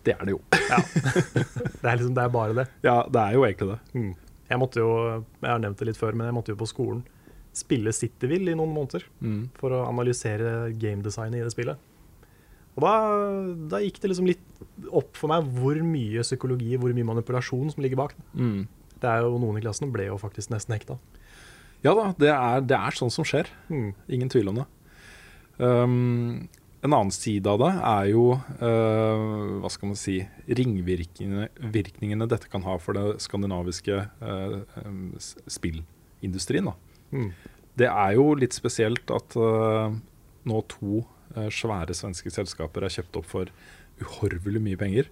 B: Det er det jo.
A: Det er liksom, det er bare det.
B: Ja, det er jo egentlig det.
A: Jeg måtte jo, jeg har nevnt det litt før, men jeg måtte jo på skolen spille Cityville i noen måneder
B: Mm.
A: for å analysere gamedesignet i det spillet. Og da, da gikk det liksom litt opp for meg hvor mye psykologi, hvor mye manipulasjon som ligger bak. det.
B: Mm.
A: Det er jo Noen i klassen ble jo faktisk nesten hekta.
B: Ja da, det er, det er sånn som skjer. Ingen tvil om det. Um, en annen side av det er jo eh, hva skal man si, ringvirkningene virkningene dette kan ha for det skandinaviske eh, em, s- spillindustrien. Da. Det er jo litt spesielt at eh, nå to eh, svære svenske selskaper er kjøpt opp for uhorvelig mye penger.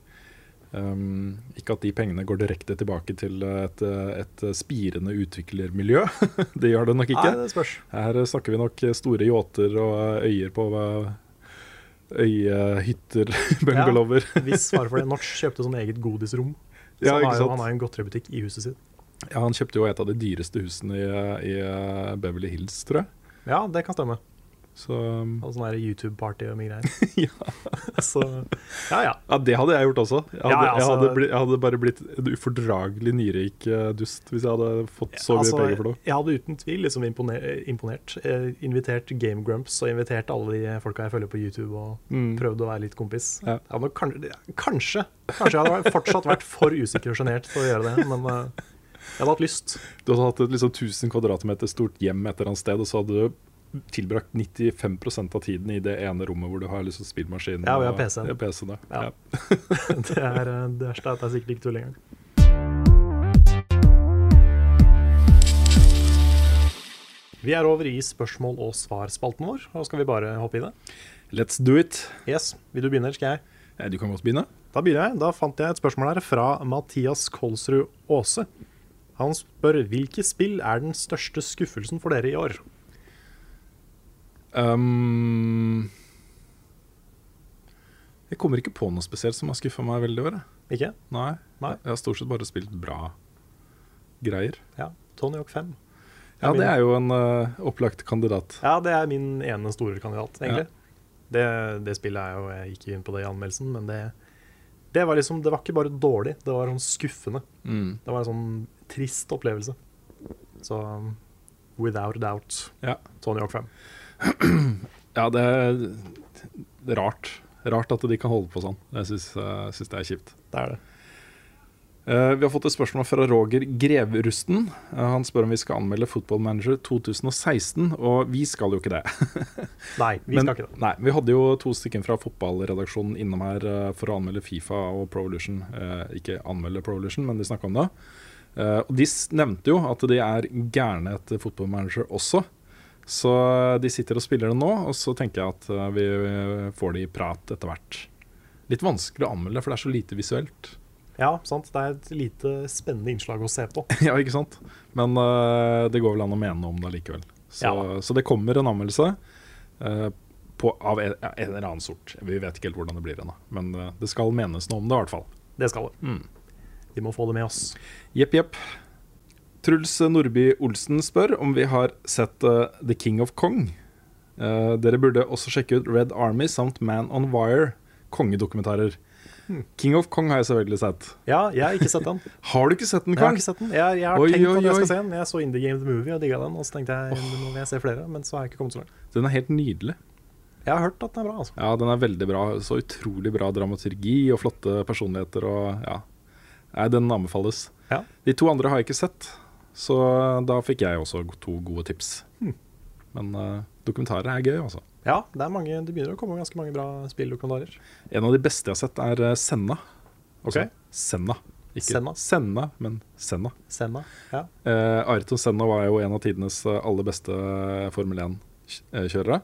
B: Um, ikke at de pengene går direkte tilbake til et, et spirende utviklermiljø. det gjør det nok ikke.
A: Nei, det spørs.
B: Her eh, snakker vi nok store yachter og eh, øyer på eh, øyehytter, bungalower.
A: Ja, Hvis svaret for det. Notch kjøpte sånn eget godisrom. Så
B: Ja,
A: han,
B: ikke
A: har jo,
B: sant.
A: han har jo en godteributikk i huset sitt.
B: Ja, han kjøpte jo et av de dyreste husene i, eh, i eh, Beverly Hills, tror jeg.
A: Ja, det kan stemme.
B: Så um,
A: Og sånn her YouTube-party og mye greier. Så ja, ja.
B: ja, det hadde jeg gjort også. Jeg hadde,
A: Ja, ja, altså-
B: jeg hadde, bli, jeg hadde bare blitt en ufordragelig nyrik eh, dust hvis jeg hadde fått så mye
A: Altså,
B: penger for noe.
A: Jeg hadde uten tvil liksom imponer imponert. Eh, invitert Game Grumps og invitert alle de folka jeg følger på YouTube, og prøvd å være litt kompis.
B: Mm. Ja.
A: Jeg hadde nok kan kanskje Kanskje jeg hadde vært- fortsatt vært for usikker og sjenert til å gjøre det, men eh, jeg hadde hatt lyst.
B: Du hadde hatt et liksom 1000 kvadratmeter stort hjem et eller annet sted, og så hadde du tilbrakt 95 av tiden i det ene rommet hvor du har liksom spillmaskinen
A: Ja, vi har PC-en.
B: og PC-en. Ja.
A: Ja. Det er eh, det verste er at det er sikkert ikke tull engang. Vi er over i spørsmål og svar-spalten vår, og skal vi bare hoppe i det?
B: Let's do it.
A: Yes, Vil du begynne, eller skal jeg?
B: Eh, Du kan godt begynne.
A: Da begynner jeg. Da fant jeg et spørsmål her fra Mathias Kolsrud Aase. Han spør hvilke spill er den største skuffelsen for dere i år?
B: Um, jeg kommer ikke på noe spesielt som har skuffa meg veldig i år. jeg.
A: Ikke?
B: Nei.
A: Nei.
B: Jeg har stort sett bare spilt bra greier.
A: Ja, Tony Hawk 5.
B: Ja,
A: min-
B: det er jo en eh, opplagt kandidat.
A: Ja, det er min ene store kandidat, egentlig. Det, det spillet er jo Jeg gikk inn på det i anmeldelsen, men det, det var liksom Det var ikke bare dårlig, det var sånn skuffende. Det var en sånn trist opplevelse. Så um, without a doubt,
B: Ja.
A: Tony Hawk 5.
B: Ja, det er det er rart. Rart at de kan holde på sånn. Jeg syns, eh, syns det er kjipt.
A: Det er det.
B: Eh, vi har fått et spørsmål fra Roger Grevrusten. Eh, han spør om vi skal anmelde Football Manager 2016, og vi skal jo ikke det.
A: Nei, vi
B: Men-
A: skal ikke det.
B: Nei, vi hadde jo to stykker fra fotballredaksjonen innom her eh, for å anmelde Fifa og Provolution. Eh, ikke anmelde Provolution, men de snakka om det. Eh, og de s- nevnte jo at de er gærne etter fotballmanager også. Så eh, de sitter og spiller det nå, og så tenker jeg at eh, vi får de i prat etter hvert. Litt vanskelig å anmelde, for det er så lite visuelt.
A: Ja, sant. Det er et lite spennende innslag å se på.
B: ja, ikke sant? Men eh, det går vel an å mene noe om det likevel. Så,
A: Ja.
B: så det kommer en anmeldelse eh, på, av en, ja, en eller annen sort. Vi vet ikke helt hvordan det blir ennå, men eh, det skal menes noe om det i hvert fall.
A: Det skal det.
B: Mm.
A: Vi må få det med oss.
B: Jepp, jepp. Truls Nordby Olsen spør om vi har sett eh, The King of Kong. Eh, dere burde også sjekke ut Red Army samt Man on Wire, kongedokumentarer.
A: Hmm.
B: King of Kong har jeg selvfølgelig sett.
A: Ja, jeg har ikke sett den.
B: Har du ikke sett den,
A: Jeg har
B: Karl?
A: ikke sett den. Jeg, jeg har
B: Oi,
A: tenkt
B: oi,
A: at jeg
B: oi.
A: skal se den. Jeg så Indie Game The Movie og digga den, og så tenkte jeg nå vil jeg se flere, men så har jeg ikke kommet så langt.
B: Den er helt nydelig.
A: Jeg har hørt at den er bra, altså.
B: Ja, den er veldig bra. Så utrolig bra dramaturgi og flotte personligheter og ja. Nei, den anbefales.
A: Ja.
B: De to andre har jeg ikke sett, så da fikk jeg også to gode tips.
A: Hm.
B: Men eh, dokumentarer er gøy, altså.
A: Ja, det, er mange, det begynner å komme ganske mange bra spilldokumentarer.
B: En av de beste jeg har sett, er eh, Senna. Altså,
A: Ok.
B: Senna. Ikke
A: Senna.
B: Senna, men Senna.
A: Senna. Ja.
B: Eh, Ayrton Senna var jo en av tidenes eh, aller beste Formel 1-kjørere.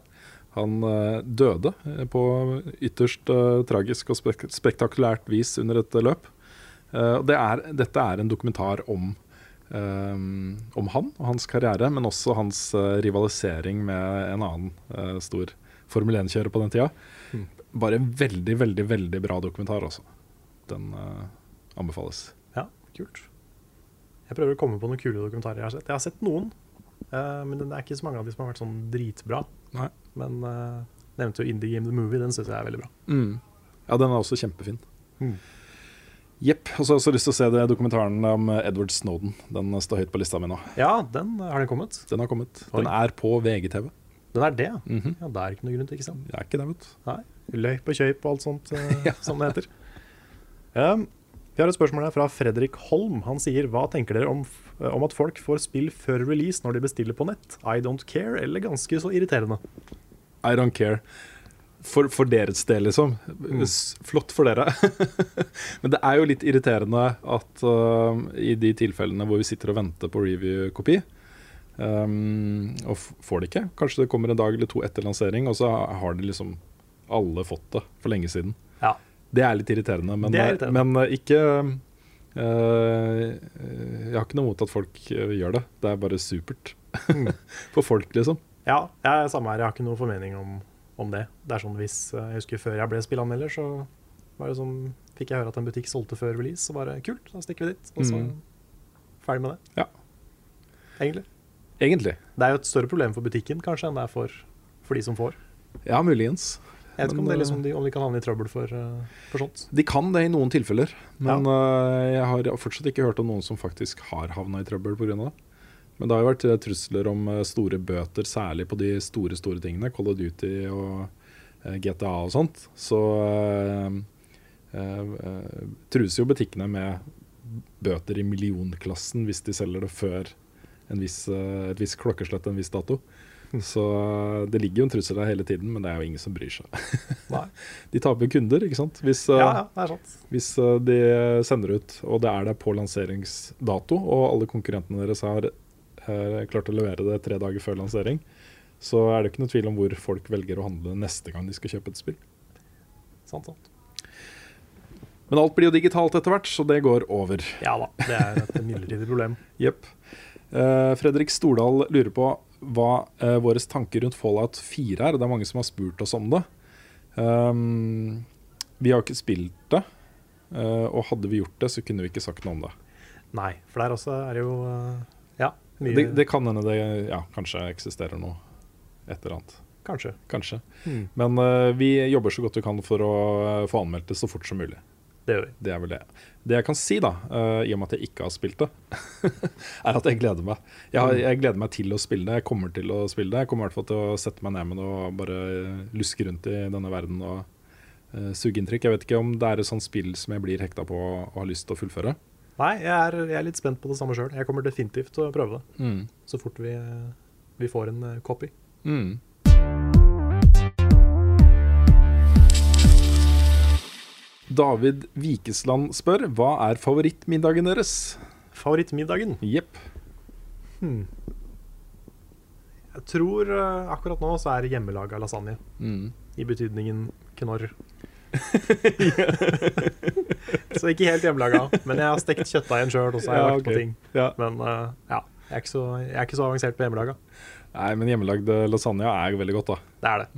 B: Han eh, døde eh, på ytterst eh, tragisk og spek spektakulært vis under et eh, løp. Eh, og det er, dette er en dokumentar om, eh, om han og hans karriere, men også hans eh, rivalisering med en annen eh, stor Formel 1-kjører på den tida. Bare en veldig, veldig, veldig bra dokumentar, altså. Den eh, anbefales.
A: ja, kult. Jeg prøver å komme på noen kule dokumentarer jeg har sett. Jeg har sett noen, eh, men det er ikke så mange av de som har vært sånn dritbra.
B: Nei.
A: Men eh, nevnte jo Indie Game The Movie, den syns jeg er veldig bra.
B: Ja, den er også kjempefin.
A: Mm.
B: Jepp. Og så har jeg også lyst til å se det dokumentaren om Edward Snowden. Den står høyt på lista mi nå.
A: Ja, den eh, har den kommet.
B: Den har kommet.
A: Oi.
B: Den er på VGTV.
A: Den er det.
B: Mhm.
A: Ja, Det er ikke noe grunn til ikke å se den.
B: Det er ikke det, vet du.
A: Nei. Løyp og kjøyp og alt sånt eh, som det heter. Um, vi har et spørsmål her fra Fredrik Holm. Han sier hva tenker dere om, f- om at folk får spill før release når de bestiller på nett? I don't care, eller ganske så irriterende.
B: I don't care. For, for deres del, liksom.
A: Mm.
B: S- Flott for dere. Men det er jo litt irriterende at um, i de tilfellene hvor vi sitter og venter på review-kopi, um, og f- får det ikke Kanskje det kommer en dag eller to etter lansering, og så har de liksom alle fått det for lenge siden.
A: Ja.
B: Det er litt irriterende, men,
A: Det er irriterende.
B: men uh, ikke uh, Jeg har ikke noe mot at folk uh, gjør det. Det er bare supert.
A: Mm.
B: for folk, liksom.
A: Ja, jeg er samme her. Jeg har ikke noe formening om, om det. Det er sånn hvis eh, Jeg husker før jeg ble spillanmelder, så var det sånn Fikk jeg høre at en butikk solgte før release, så bare kult, da stikker vi dit. Og så
B: Mm.
A: ferdig med det.
B: Ja.
A: Egentlig.
B: Egentlig.
A: Det er jo et større problem for butikken kanskje enn det er for, for de som får.
B: Ja, muligens.
A: Jeg vet ikke om,
B: Men,
A: det, er
B: eh,
A: liksom de, om de kan havne i trøbbel for, eh, for sånt.
B: De kan det i noen tilfeller, men øh, jeg har fortsatt ikke hørt om noen som faktisk har havna i trøbbel pga. det. Men det har jo vært øh, trusler om øh, store bøter, særlig på de store store tingene, Call of Duty og øh, GTA og sånt. Så øh, øh, øh, trues jo butikkene med bøter i millionklassen hvis de selger det før en viss, øh, et visst klokkeslett en viss dato.
A: Hm.
B: Så øh, det ligger jo en trussel der hele tiden, men det er jo ingen som bryr seg.
A: Nei.
B: De taper jo kunder, ikke sant. Hvis, øh,
A: Ja, ja, det er sant.
B: hvis eh, de sender ut, og det er det på lanseringsdato, og alle konkurrentene deres har eh, klart å levere det tre dager før lansering, så er det ikke noe tvil om hvor folk velger å handle neste gang de skal kjøpe et spill.
A: sant, sant.
B: Men alt blir jo digitalt etter hvert, så det går over.
A: Ja da, det er et midlertidig problem.
B: Jepp. Eh, Fredrik Stordal lurer på hva eh, våre tanker rundt Fallout 4 er. Det er mange som har spurt oss om det. Ehm, vi har ikke spilt det, eh, og hadde vi gjort det, så kunne vi ikke sagt noe om det.
A: Nei, for der også er det jo eh, Ja, mye
B: Det, det kan hende det ja, kanskje eksisterer noe et eller annet.
A: Kanskje.
B: Kanskje.
A: Hmm.
B: Men eh, vi jobber så godt vi kan for å eh, få anmeldt det så fort som mulig.
A: Det gjør vi.
B: Det er vel det. Det jeg kan si, da, eh, i og med at jeg ikke har spilt det, er at jeg gleder meg. Jeg, har, jeg gleder meg til å spille det. Jeg kommer til å spille det. Jeg kommer i hvert fall til å sette meg ned med det og bare eh, luske rundt i denne verden og eh, suge inntrykk. Jeg vet ikke om det er et sånt spill som jeg blir hekta på og har lyst til å fullføre.
A: Nei, jeg er, jeg er litt spent på det samme sjøl. Jeg kommer definitivt til å prøve det så fort vi, eh, vi får en eh, copy.
B: Mm. David Vikesland spør hva er favorittmiddagen deres?
A: Favorittmiddagen?
B: Jepp.
A: Jeg tror eh, akkurat nå så er hjemmelaga lasagne. I betydningen knorr. så ikke helt hjemmelaga, men jeg har stekt kjøttdeigen sjøl, og så har jeg
B: Ja,
A: lagt
B: ok.
A: på ting.
B: Ja.
A: Men eh, ja, jeg er, ikke så, jeg er ikke så avansert på hjemmelaga.
B: Nei, men hjemmelagd lasagne er jo veldig godt, da.
A: Det er det.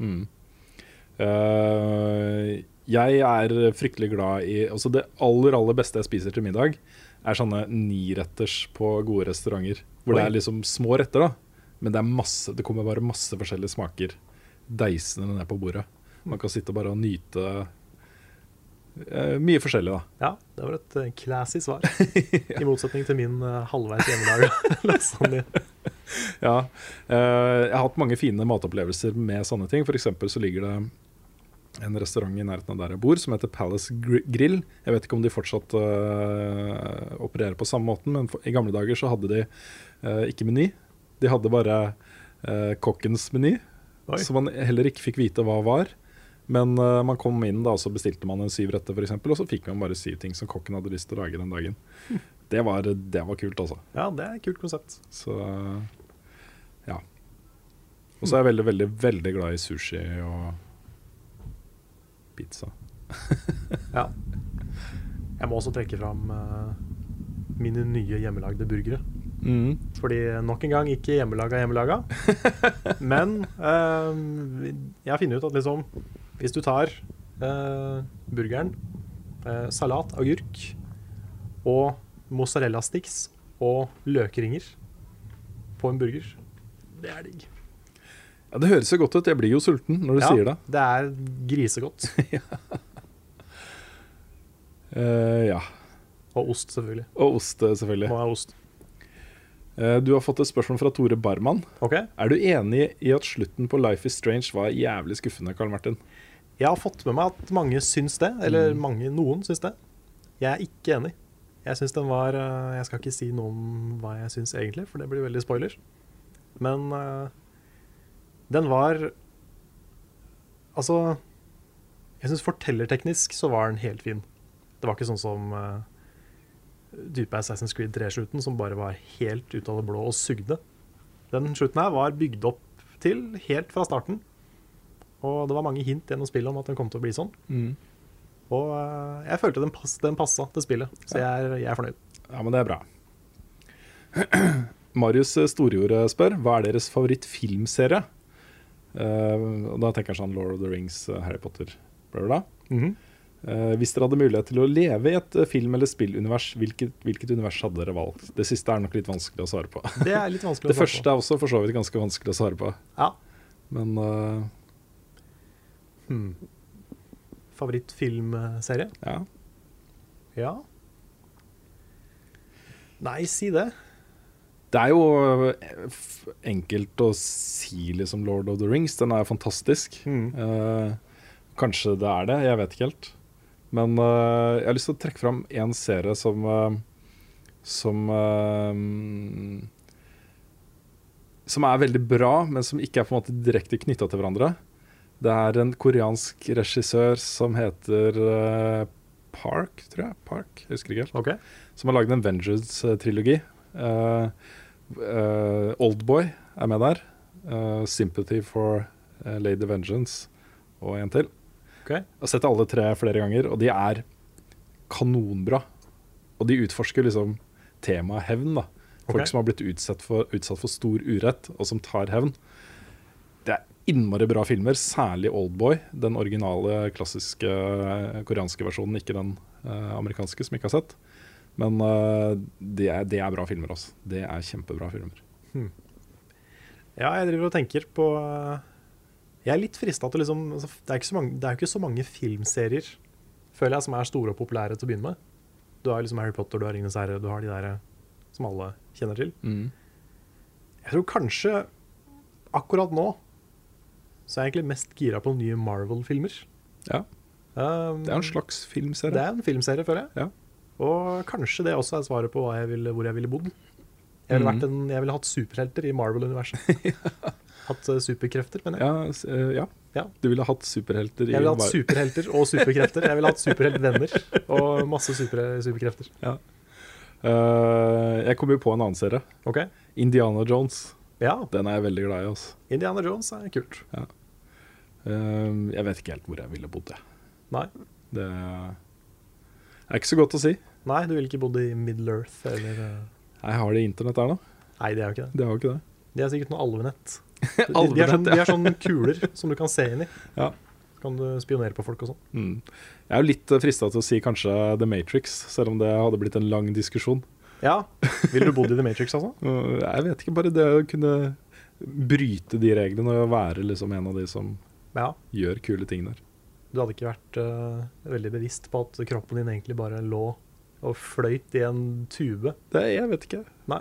B: Eh, jeg er fryktelig glad i altså Det aller aller beste jeg spiser til middag, er sånne niretters på gode restauranter. Hvor det
A: Oi.
B: er liksom små retter, da. Men det, er masse, det kommer bare masse forskjellige smaker deisende ned på bordet. Man kan sitte bare og nyte eh, mye forskjellig, da.
A: Ja, det var et eh, classy svar. I motsetning til min eh, halvveis hjemmelaga lasagne.
B: Ja, eh, jeg har hatt mange fine matopplevelser med sånne ting. For eksempel så ligger det en restaurant i nærheten av der jeg bor som heter Palace Gri- Grill. Jeg vet ikke om de fortsatt eh, opererer på samme måten, men for, i gamle dager så hadde de eh, ikke meny. De hadde bare eh, kokkens meny,
A: Oi.
B: så man heller ikke fikk vite hva var. Men eh, man kom inn da, og så bestilte man en syv retter, for eksempel, og så fikk man bare syv ting som kokken hadde lyst til å lage den dagen. Det var, det var kult, altså.
A: Ja, det er et kult konsept.
B: Så ja. Og så er jeg veldig, veldig, veldig glad i sushi og pizza.
A: Ja. Jeg må også trekke fram eh, mine nye hjemmelagde burgere. Fordi nok en gang ikke hjemmelaga hjemmelaga. Men eh, jeg har funnet ut at liksom Hvis du tar eh, burgeren, eh, salat, agurk og mozzarella sticks og løkringer på en burger. Det er digg.
B: Ja, det høres jo godt ut. Jeg blir jo sulten når du
A: Ja,
B: sier det.
A: det er grisegodt.
B: Eh, ja.
A: Og ost, selvfølgelig.
B: Og ost, eh, selvfølgelig.
A: Må ha ost.
B: Eh, du har fått et spørsmål fra Tore Barman.
A: Ok.
B: Er du enig i at slutten på Life is Strange var jævlig skuffende, Karl Martin?
A: Jeg har fått med meg at mange syns det, eller mange, noen syns det. Jeg er ikke enig. Jeg syns den var eh, Jeg skal ikke si noe om hva jeg syns egentlig, for det blir veldig spoiler. Men eh, den var Altså Jeg syns fortellerteknisk så var den helt fin. Det var ikke sånn som eh, dype Assassin's Creed 3-slutten, som bare var helt ut av det blå og sugde. Den slutten her var bygd opp til helt fra starten. Og det var mange hint gjennom spillet om at den kom til å bli sånn. Og eh, jeg følte den, pass, den passa til spillet, så jeg er, jeg er fornøyd.
B: Ja, men det er bra. Marius Storjordet spør hva er deres favorittfilmserie. Eh, og da tenker jeg sånn Lord of the Rings, eh, Harry Potter, bla, bla. bla.
A: Mhm.
B: Eh, hvis dere hadde mulighet til å leve i et eh, film- eller spillunivers, hvilket, hvilket univers hadde dere valgt? Det siste er nok litt vanskelig å svare på.
A: Det er litt vanskelig
B: Det første er også for så vidt ganske vanskelig å svare på.
A: Ja.
B: Men eh,
A: Favorittfilmserie?
B: ja.
A: Ja. Nei, si det.
B: Det er jo eh, f- enkelt å si liksom Lord of the Rings. Den er fantastisk. Eh, kanskje det er det, jeg vet ikke helt. Men eh, jeg har lyst til å trekke fram én serie som eh, som eh, som er veldig bra, men som ikke er på en måte direkte knytta til hverandre. Det er en koreansk regissør som heter eh, Park, tror jeg. Park, jeg husker ikke helt
A: Ok.
B: som har lagd en Vengeance-trilogi. Eh, eh, Oldboy er med der. Eh, Sympathy for eh, Lady Vengeance og en til.
A: Ok.
B: Jeg har sett alle tre flere ganger, og de er kanonbra. Og de utforsker liksom temaet hevn. da. Folk
A: Ok.
B: som har blitt utsatt for, utsatt for stor urett, og som tar hevn. Det er innmari bra filmer, særlig Oldboy. Den originale, klassiske eh, koreanske versjonen, ikke den eh, amerikanske, som jeg ikke har sett. Men eh, det, er, det er bra filmer, altså. Det er kjempebra filmer.
A: Ja, jeg driver og tenker på eh, Jeg er litt frista til liksom altså, Det er ikke så mange, det er jo ikke så mange filmserier, føler jeg, som er store og populære til å begynne med. Du har liksom Harry Potter, du har Ringenes herre, du har de der eh, som alle kjenner til. Jeg tror kanskje akkurat nå så er jeg egentlig mest gira på nye Marvel-filmer.
B: Ja,
A: Um,
B: Det er en slags filmserie.
A: det er en filmserie, føler jeg.
B: Ja.
A: Og kanskje det også er svaret på hva jeg ville, hvor jeg ville bodd. Jeg ville, vært en, jeg ville hatt superhelter i Marvel-universet. hatt eh, superkrefter, mener jeg.
B: Ja, s- eh, ja.
A: Ja.
B: Du ville hatt superhelter i
A: Jeg ville hatt
B: Mar-
A: superhelter og superkrefter. Jeg ville hatt superheltvenner og masse super, superkrefter.
B: Eh, jeg kom jo på en annen serie.
A: Ok?
B: Indiana Jones.
A: Ja,
B: Den er jeg veldig glad i. Altså.
A: Indiana Jones er kult.
B: Eh, jeg vet ikke helt hvor jeg ville bodd. jeg.
A: Nei,
B: Det er ikke så godt å si.
A: Nei du ville ikke bodd i Middle-earth eller eh,
B: Jeg har det i internett der, da.
A: Nei, det er jo ikke det.
B: Det har jo ikke det.
A: De er sikkert noe alvenett. De, de, er sånn, de er sånne kuler som du kan se inn i.
B: Ja.
A: Så kan du spionere på folk og sånn.
B: Mm. Jeg er jo litt frista til å si kanskje The Matrix, selv om det hadde blitt en lang diskusjon.
A: Ja. Ville du bodd i The Matrix, altså?
B: Uh, Jeg vet ikke, bare det å kunne bryte de reglene og være liksom en av de som
A: Ja.
B: gjør kule ting der.
A: Du hadde ikke vært eh, veldig bevisst på at kroppen din egentlig bare lå og fløyt i en tube.
B: Det, jeg vet ikke.
A: Nei.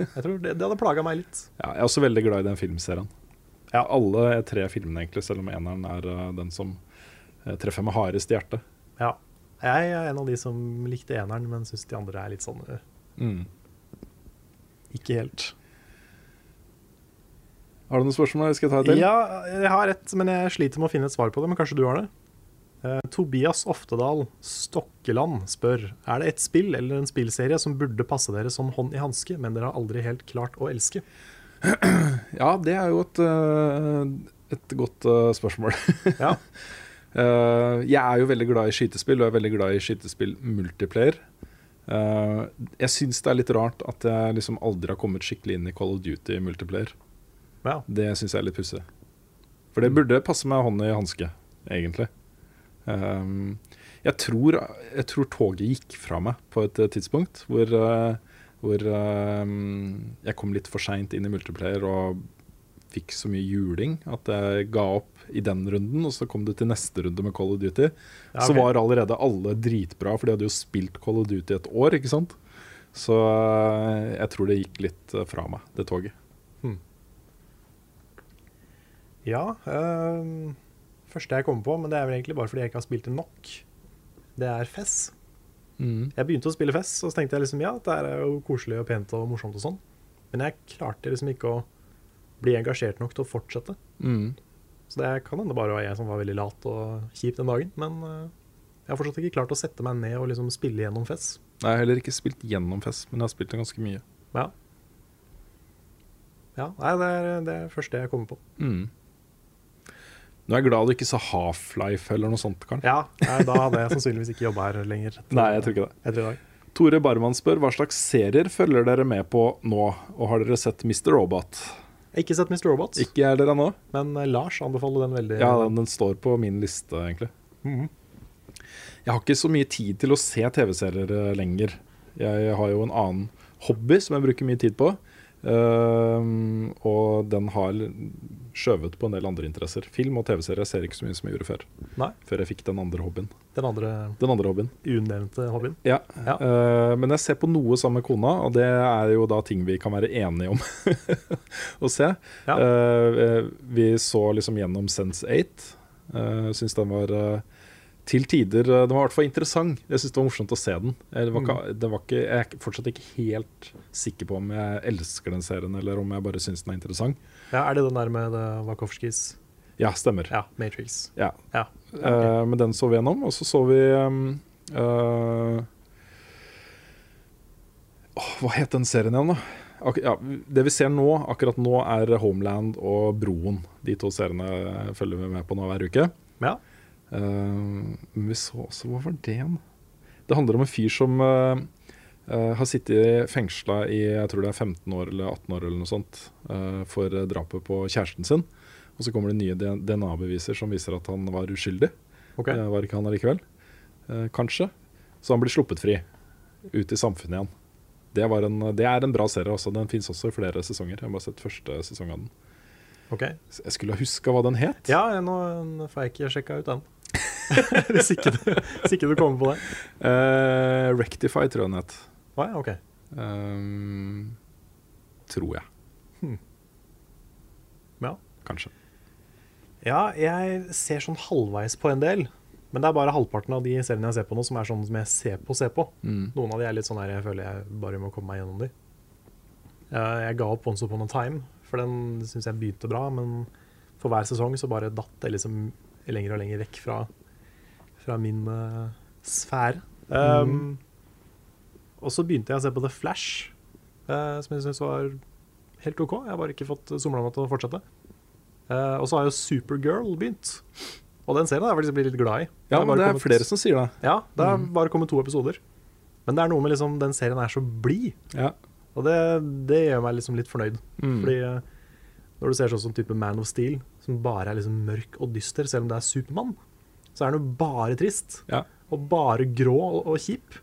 A: Jeg tror det, det hadde plaga meg litt.
B: Ja, jeg er også veldig glad i den filmserien. Ja, alle tre filmene, egentlig, selv om eneren er uh, den som uh, treffer meg hardest i hjertet.
A: Ja. Jeg er en av de som likte eneren, men syns de andre er litt sånn eh, Ikke helt.
B: Har du noen spørsmål jeg skal ta et til?
A: Ja, jeg har rett, men jeg sliter med å finne et svar på det. Men kanskje du har det? Eh, Tobias Oftedal Stokkeland spør Er det et spill eller en spillserie som burde passe dere som hånd i hanske, men dere har aldri helt klart å elske?
B: Ja, det er jo et, uh, et godt uh, spørsmål.
A: Ja.
B: Eh, jeg er jo veldig glad i skytespill, og jeg er veldig glad i skytespill multiplayer. Eh, jeg syns det er litt rart at jeg liksom aldri har kommet skikkelig inn i Call of Duty multiplayer.
A: ja.
B: Det syns jeg er litt pussig. For det burde passe med hånd i hanske, egentlig. Ehm, Eh, jeg, tror, jeg tror toget gikk fra meg på et eh, tidspunkt hvor eh, Hvor eh, jeg kom litt for seint inn i multiplayer og fikk så mye juling at jeg ga opp i den runden. Og så kom du til neste runde med Call of Duty.
A: Ja,
B: Så
A: ok.
B: var allerede alle dritbra, for de hadde jo spilt Call of Duty et år. ikke sant? Så eh, jeg tror det gikk litt eh, fra meg, det toget.
A: Ja. ehm, første jeg kommer på, men det er vel egentlig bare fordi jeg ikke har spilt det nok, det er Fess. Jeg begynte å spille Fess, og så tenkte jeg liksom ja, det her er jo koselig og pent og morsomt og sånn. Men jeg klarte liksom ikke å bli engasjert nok til å fortsette.
B: Mm.
A: Så det kan hende bare var jeg som var veldig lat og kjip den dagen. Men eh, jeg har fortsatt ikke klart å sette meg ned og liksom spille gjennom Fess.
B: Nei, Jeg har heller ikke spilt gjennom Fest, men jeg har spilt det ganske mye.
A: Ja. Ja, nei, det er eh, det er første jeg kommer på.
B: Nå er jeg glad du ikke sa Half-Life eller noe sånt, Karl.
A: Ja, nei, da hadde jeg sannsynligvis ikke jobba her lenger. etter-
B: Nei, jeg tror ikke det.
A: Etter i dag.
B: Tore Barman spør hva slags serier følger dere med på nå, og har dere sett Mr. Robot?
A: Jeg har Ikke sett Mr. Robots,
B: Ikke jeg heller ennå.
A: men eh, Lars anbefaler den veldig.
B: Ja, den, den står på min liste, egentlig. Jeg har ikke så mye tid til å se TV-serier eh, lenger. Jeg har jo en annen hobby som jeg bruker mye tid på. ehm, og den har skjøvet på en del andre interesser. Film og TV-serier ser jeg ikke så mye som jeg gjorde før.
A: Nei.
B: Før jeg fikk den andre hobbyen.
A: Den andre
B: Den andre hobbyen.
A: unevnte hobbyen.
B: Ja,
A: Ja.
B: eh, men jeg ser på noe sammen med kona, og det er jo da ting vi kan være enige om å se.
A: Ja.
B: Eh, eh, vi så liksom gjennom Sense 8. Uh, Syns den var eh, til tider eh, Den var i hvert fall interessant. Jeg syns det var morsomt å se den. Jeg,
A: Mm.
B: var ikke, det var ikke, jeg er fortsatt ikke helt sikker på om jeg elsker den serien, eller om jeg bare syns den er interessant.
A: Ja, Er det den der med eh, Wachowskis
B: Ja, stemmer.
A: Ja, Matrix.
B: Ja.
A: Ja.
B: Eh, men den så vi gjennom, og så så vi ehm, eh, åh, Hva het den serien igjen, da? Ak ja, det vi ser nå, akkurat nå, er Homeland og Broen. De to seriene følger vi med på nå hver uke.
A: Ja.
B: Eh, men vi så også Hva var det igjen? Det handler om en fyr som eh, eh, har sittet fengsla i jeg tror det er 15 år eller 18 år eller noe sånt eh, for eh, drapet på kjæresten sin. Og så kommer det nye DNA-beviser som viser at han var uskyldig.
A: Ok.
B: Det var ikke han allikevel. Eh, kanskje. Så han blir sluppet fri. Ut i samfunnet igjen. Det, var en, det er en bra serie. Også. Den fins også i flere sesonger. Jeg har bare sett første sesong av den.
A: ok.
B: Jeg skulle ha huska hva den het.
A: Ja, nå eh, får jeg ikke sjekka ut den. hvis, ikke du, hvis ikke du kommer på det.
B: Eh, Rectify, tror jeg den het.
A: Å ja, ok.
B: Ehm, tror jeg.
A: Ja.
B: Kanskje.
A: Ja, jeg ser sånn halvveis på en del. Men det er bare halvparten av de seriene jeg ser på nå, som er sånn som jeg ser på, ser på. Noen av de er litt sånn her jeg føler jeg bare må komme meg gjennom de. Eh, Jeg ga opp Once upon a time, for den syns jeg begynte bra, men for hver sesong så bare datt det liksom lenger og lenger vekk fra, fra min eh, sfære. Um, Og så begynte jeg å se på The Flash, eh, som jeg syns var helt OK. Jeg har bare ikke fått somla meg til å fortsette. Eh, og så har jo Supergirl begynt. Og den serien har jeg faktisk blitt litt glad i.
B: Ja,
A: har
B: men
A: bare
B: det er
A: kommet-
B: flere som sier det.
A: Ja, det har bare kommet to episoder. Men det er noe med liksom, den serien er så blid,
B: Ja.
A: og det, det gjør meg liksom litt fornøyd. Fordi eh, når du ser sånn som type Man of Steel, som bare er liksom mørk og dyster, selv om det er Supermann, så er den jo bare trist.
B: Ja.
A: Og bare grå og, og kjip.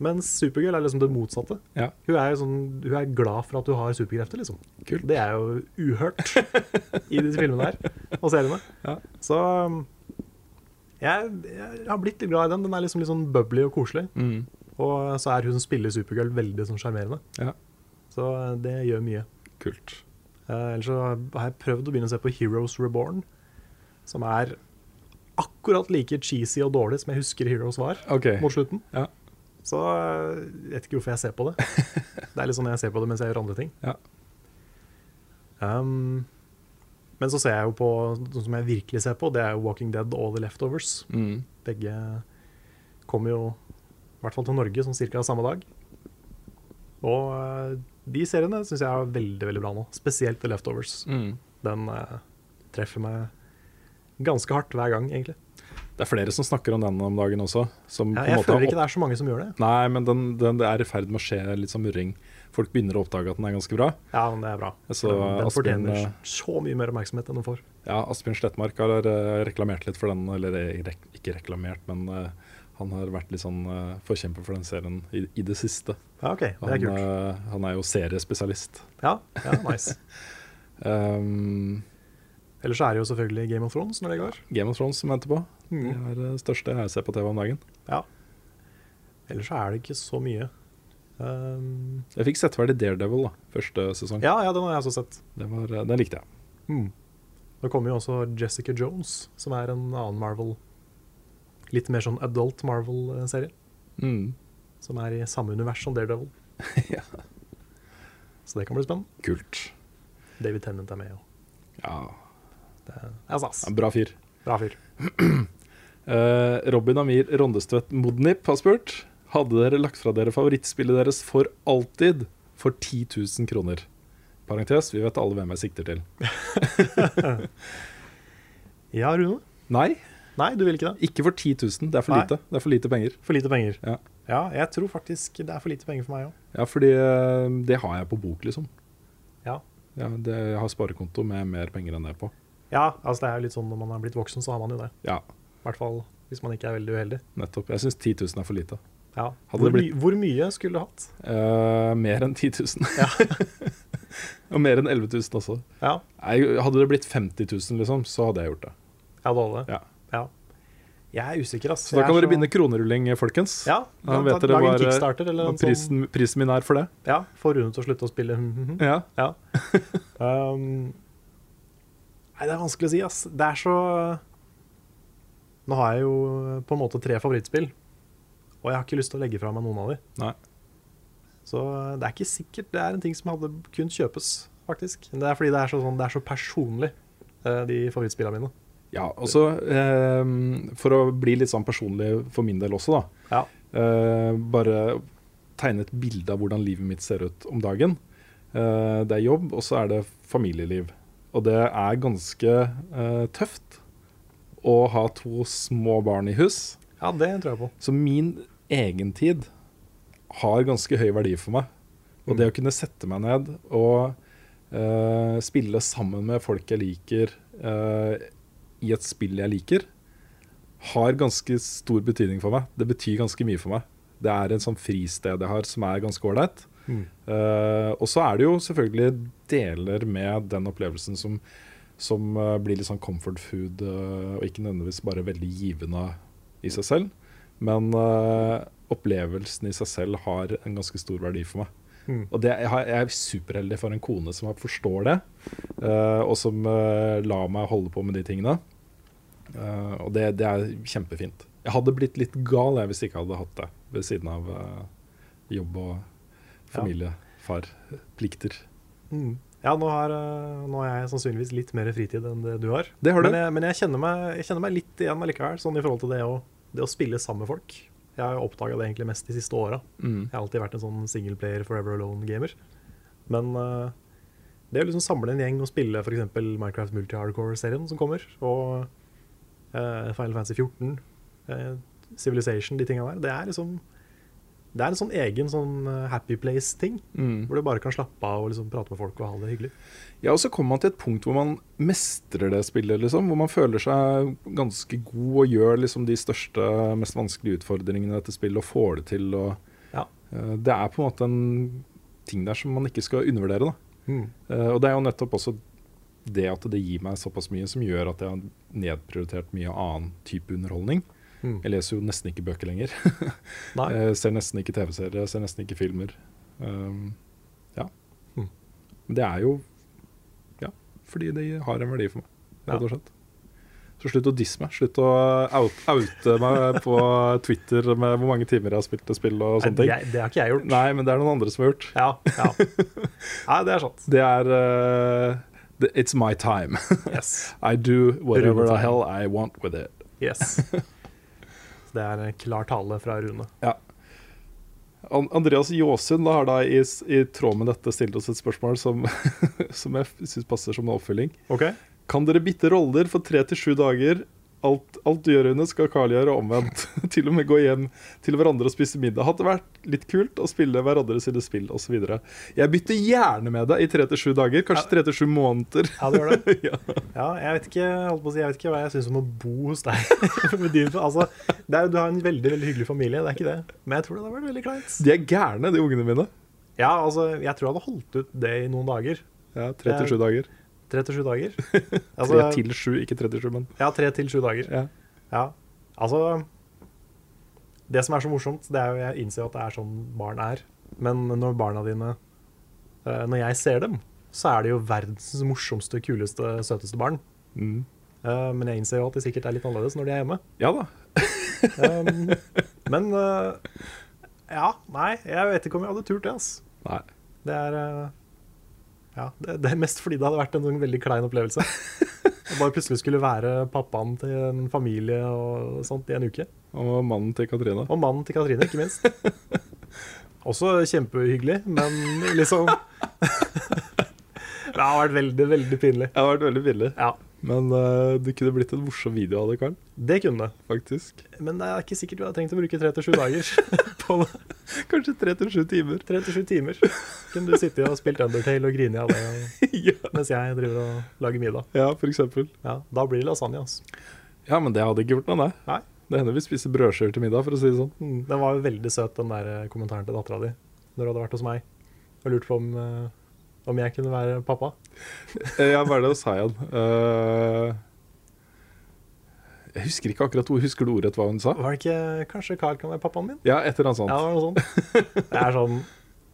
A: Mens Supergirl er liksom det motsatte.
B: ja.
A: Hun er, jo sånn, hun er glad for at du har superkrefter, liksom.
B: Kult.
A: Det er jo uhørt i disse filmene her og seriene. Så um, jeg, jeg har blitt litt glad i den. Den er liksom litt sånn bubbly og koselig.
B: Mm.
A: Og så er hun som spiller Supergirl, veldig sånn sjarmerende.
B: Ja.
A: Så eh, det gjør mye.
B: Kult.
A: Eh, ellers så har jeg prøvd å begynne å se på Heroes Reborn, som er akkurat like cheesy og dårlig som jeg husker Heroes var
B: Ok.
A: mot slutten.
B: Ja.
A: Så eh, jeg vet ikke hvorfor jeg ser på det. Det er litt sånn jeg ser på det mens jeg gjør andre ting.
B: Ja.
A: Um, men så ser jeg jo på noe som jeg virkelig ser på, det er jo Walking Dead og The Leftovers.
B: Mm.
A: Begge kommer jo i hvert fall til Norge sånn cirka samme dag. Og eh, de seriene syns jeg er veldig veldig bra nå, spesielt The Leftovers.
B: Mm.
A: Den eh, treffer meg ganske hardt hver gang, egentlig.
B: Det er flere som snakker om den om dagen også. Som
A: Ja,
B: på en
A: jeg
B: måte har
A: føler ikke det er så mange som gjør det.
B: opp- Nei, men den, den, det er i ferd med å skje litt sånn murring. Folk begynner å oppdage at den er ganske bra.
A: Ja, men det er bra.
B: Jeg så
A: den den
B: Asbjørn,
A: fortjener
B: eh,
A: så mye mer oppmerksomhet enn den får.
B: Ja, Asbjørn Slettmark har eh, reklamert litt for den, eller eh, rek ikke reklamert, men eh, Han har vært litt sånn eh, forkjemper for den serien i, i det siste.
A: Ja, ok, det er
B: han,
A: kult.
B: eh, han er jo seriespesialist.
A: Ja, ja, nice.
B: Um,
A: Ellers er det jo selvfølgelig Game of Thrones når det går.
B: Game of Thrones som jeg venter på.
A: Mm.
B: Det er det største jeg ser på TV om dagen.
A: Ja. Ellers er det ikke så mye. Ehm,
B: Jeg fikk sett ferdig Daredevil da, første sesong.
A: ja, ja, den har jeg også sett.
B: Det var, eh, den likte jeg.
A: Nå kommer jo også Jessica Jones, som er en annen Marvel Litt mer sånn adult Marvel-serie.
B: Mm.
A: Som er i samme univers som Daredevil.
B: Ja.
A: Så det kan bli spennende.
B: Kult.
A: David Tennant er med. Og.
B: Ja,
A: Det er stas.
B: en bra fyr.
A: Bra fyr.
B: Eh, Robin Amir Rondestvedt Modnip har spurt Hadde dere lagt fra dere favorittspillet deres for alltid for 10 000 kroner? Parentes, vi vet alle hvem jeg sikter til.
A: Ja, Rune?
B: Nei,
A: Nei, du vil ikke det?
B: ikke for 10 000. Det er for
A: Nei.
B: lite. Det er for lite penger.
A: For lite penger.
B: Ja.
A: ja, jeg tror faktisk det er for lite penger for meg òg.
B: Ja, fordi eh, det har jeg på bok, liksom.
A: Ja.
B: Ja, det, jeg har sparekonto med mer penger enn det på.
A: ja, altså det er jo litt sånn når man er blitt voksen, så har man jo det.
B: Ja,
A: I hvert fall hvis man ikke er veldig uheldig.
B: nettopp. Jeg syns 10 000 er for lite.
A: Ja.
B: Hadde
A: Hvor,
B: det blitt-
A: my hvor mye skulle du hatt?
B: Eh, mer enn 10 000. Og mer enn 11 000 også.
A: Ja,
B: Nei, hadde det blitt 50 000, liksom, så hadde jeg gjort det.
A: jeg hadde alle.
B: Ja.
A: Jeg er usikker, ass.
B: Så da
A: Jeg
B: kan
A: er
B: dere begynne kronerulling, folkens.
A: Ja,
B: Da
A: kan ta-
B: vet dere
A: lag en
B: hva-
A: kickstarter eller
B: hva
A: en sånn-
B: prisen, prisen min er for det.
A: Ja, få Rune til å slutte å spille. Mhm.
B: Ja.
A: ja. um, nei, det er vanskelig å si, ass. Det er så Nå har jeg jo på en måte tre favorittspill, og jeg har ikke lyst til å legge fra meg noen av de.
B: Nei.
A: Så det er ikke sikkert det er en ting som hadde kun kjøpes, faktisk. Men Det er fordi det er så, sånn, det er så personlig, eh, de favorittspillene mine.
B: Ja, og så eh, For å bli litt sånn personlig for min del også, da.
A: Ja.
B: Eh, bare tegne et bilde av hvordan livet mitt ser ut om dagen. Eh, det er jobb, og så er det familieliv. Og det er ganske eh, tøft å ha to små barn i hus.
A: Ja, det tror jeg på.
B: Så min egentid har ganske høy verdi for meg. Og det å kunne sette meg ned og eh, spille sammen med folk jeg liker, eh, i et spill jeg liker, har ganske stor betydning for meg. Det betyr ganske mye for meg. Det er en sånn fristed jeg har som er ganske ålreit. Eh, og så er det jo selvfølgelig deler med den opplevelsen som, som eh, blir litt sånn comfort food, eh, og ikke nødvendigvis bare veldig givende i seg selv. Men eh, opplevelsen i seg selv har en ganske stor verdi for meg. Og det, jeg, har- jeg er superheldig for en kone som forstår det, eh, og som eh, lar meg holde på med de tingene. Eh, og det, det er kjempefint. Jeg hadde blitt litt gal jeg, hvis jeg ikke hadde hatt det ved siden av eh, jobb og familie, far, plikter.
A: Mm. Ja, nå har, eh, nå har jeg sannsynligvis litt mer fritid enn det du har.
B: Det har du.
A: Men, jeg, men jeg, kjenner meg, jeg kjenner meg litt igjen allikevel, sånn i forhold til det å, det å spille sammen med folk. Jeg har oppdaga det egentlig mest de siste åra. Jeg har alltid vært en sånn singleplayer forever alone-gamer. Men eh, det å liksom samle en gjeng og spille f.eks. Minecraft Multi-Hardcore-serien som kommer, og eh, Final Fantasy 14, eh, Civilization, de tinga der, det er liksom det er en sånn egen sånn eh, happy place-ting,
B: Mm.
A: hvor du bare kan slappe av og liksom prate med folk og ha det hyggelig.
B: Ja, og så kommer man til et punkt hvor man mestrer det spillet, liksom. Hvor man føler seg ganske god og gjør liksom de største, mest vanskelige utfordringene i dette spillet og får det til. Og,
A: Ja.
B: eh, det er på en måte en ting der som man ikke skal undervurdere, da.
A: Mm.
B: Eh, og det er jo nettopp også det at det gir meg såpass mye som gjør at jeg har nedprioritert mye annen type underholdning.
A: Mm.
B: Jeg leser jo nesten ikke bøker lenger.
A: Nei.
B: Jeg Eh, ser nesten ikke TV-serier, jeg ser nesten ikke filmer. Um, ja.
A: Mm.
B: Men Det er jo ja, fordi de har en verdi for meg, rett og slett. Så slutt å disse meg. Slutt å out, oute meg på Twitter med hvor mange timer jeg har spilt et spill og sånne
A: Nei,
B: ting.
A: jeg- det har ikke jeg gjort.
B: Nei, men det er noen andre som har gjort.
A: Ja, ja. Nei, det er sant.
B: Det er eh, det- It's my time.
A: Yes.
B: I do whatever the
A: Runetime.
B: hell I want with it.
A: yes. Så det er klar tale fra Rune.
B: An- Andreas Jåsund da har da i, s- i tråd med dette stilt oss et spørsmål som, som jeg syns passer som en oppfølging.
A: OK?
B: Kan dere bytte roller for tre til sju dager alt, alt du gjør, Rune, skal Carl gjøre omvendt. til og med gå hjem til hverandre og spise middag. Hadde vært litt kult å spille hverandre sine spill osv. Jeg bytter gjerne med deg i tre til sju dager, kanskje tre til sju måneder.
A: Ja, det gjør det. Ja, jeg vet ikke, holdt på å si, jeg vet ikke hva jeg syns om å bo hos deg. Med din, altså, det er, du har en veldig veldig hyggelig familie, det er ikke det. Men jeg tror det hadde vært veldig kleint.
B: De er gærne, de ungene mine.
A: Ja, altså, jeg tror jeg hadde holdt ut det i noen dager.
B: Ja, Tre til sju dager.
A: Tre til sju dager.
B: Tre
A: Altså,
B: til sju, ikke 37, men
A: ja, tre til sju dager.
B: ja.
A: Ja, altså Det som er så morsomt, det er jo jeg innser jo at det er sånn barn er. Men når barna dine eh, Når jeg ser dem, så er de jo verdens morsomste, kuleste, søteste barn.
B: Mm.
A: Eh, men jeg innser jo at de sikkert er litt annerledes når de er hjemme.
B: ja da.
A: Um, men eh, ja, nei, jeg vet ikke om jeg hadde turt det, altså.
B: Nei.
A: Det er eh, Ja, det, det er mest fordi det hadde vært en sånn veldig klein opplevelse. Jeg bare plutselig skulle være pappaen til en familie og sånt i en uke.
B: Han var mannen til Katrine.
A: Og mannen til Katrine, ikke minst. Også kjempehyggelig, men liksom Det har vært veldig, veldig pinlig.
B: Jeg har vært veldig billig.
A: Ja,
B: Men eh, det kunne blitt en morsom video av det, Karl.
A: det kunne det.
B: Faktisk.
A: Men det er ikke sikkert vi hadde trengt å bruke tre til sju dager på
B: Kanskje tre til sju timer.
A: tre til sju timer. Kunne du sittet og spilt Undertale og grinet av det og,
B: ja.
A: mens jeg driver og lager middag.
B: ja, for eksempel.
A: Ja, da blir det lasagne, altså.
B: Ja, men det hadde ikke gjort noe, nei.
A: Nei.
B: Det hender vi spiser brødskiver til middag, for å si det sånn.
A: Mm, Den var jo veldig søt, den der eh, kommentaren til dattera di når du hadde vært hos meg og lurt på om, eh, om jeg kunne være pappa.
B: Eh, Ja, hva er det hun sa igjen? Eh, jeg husker ikke akkurat hvor, husker du ordrett hva hun sa?
A: Var det ikke Kanskje Carl kan være pappaen min?
B: Ja, et eller annet sånt.
A: Ja, det var noe sånt. Det er sånn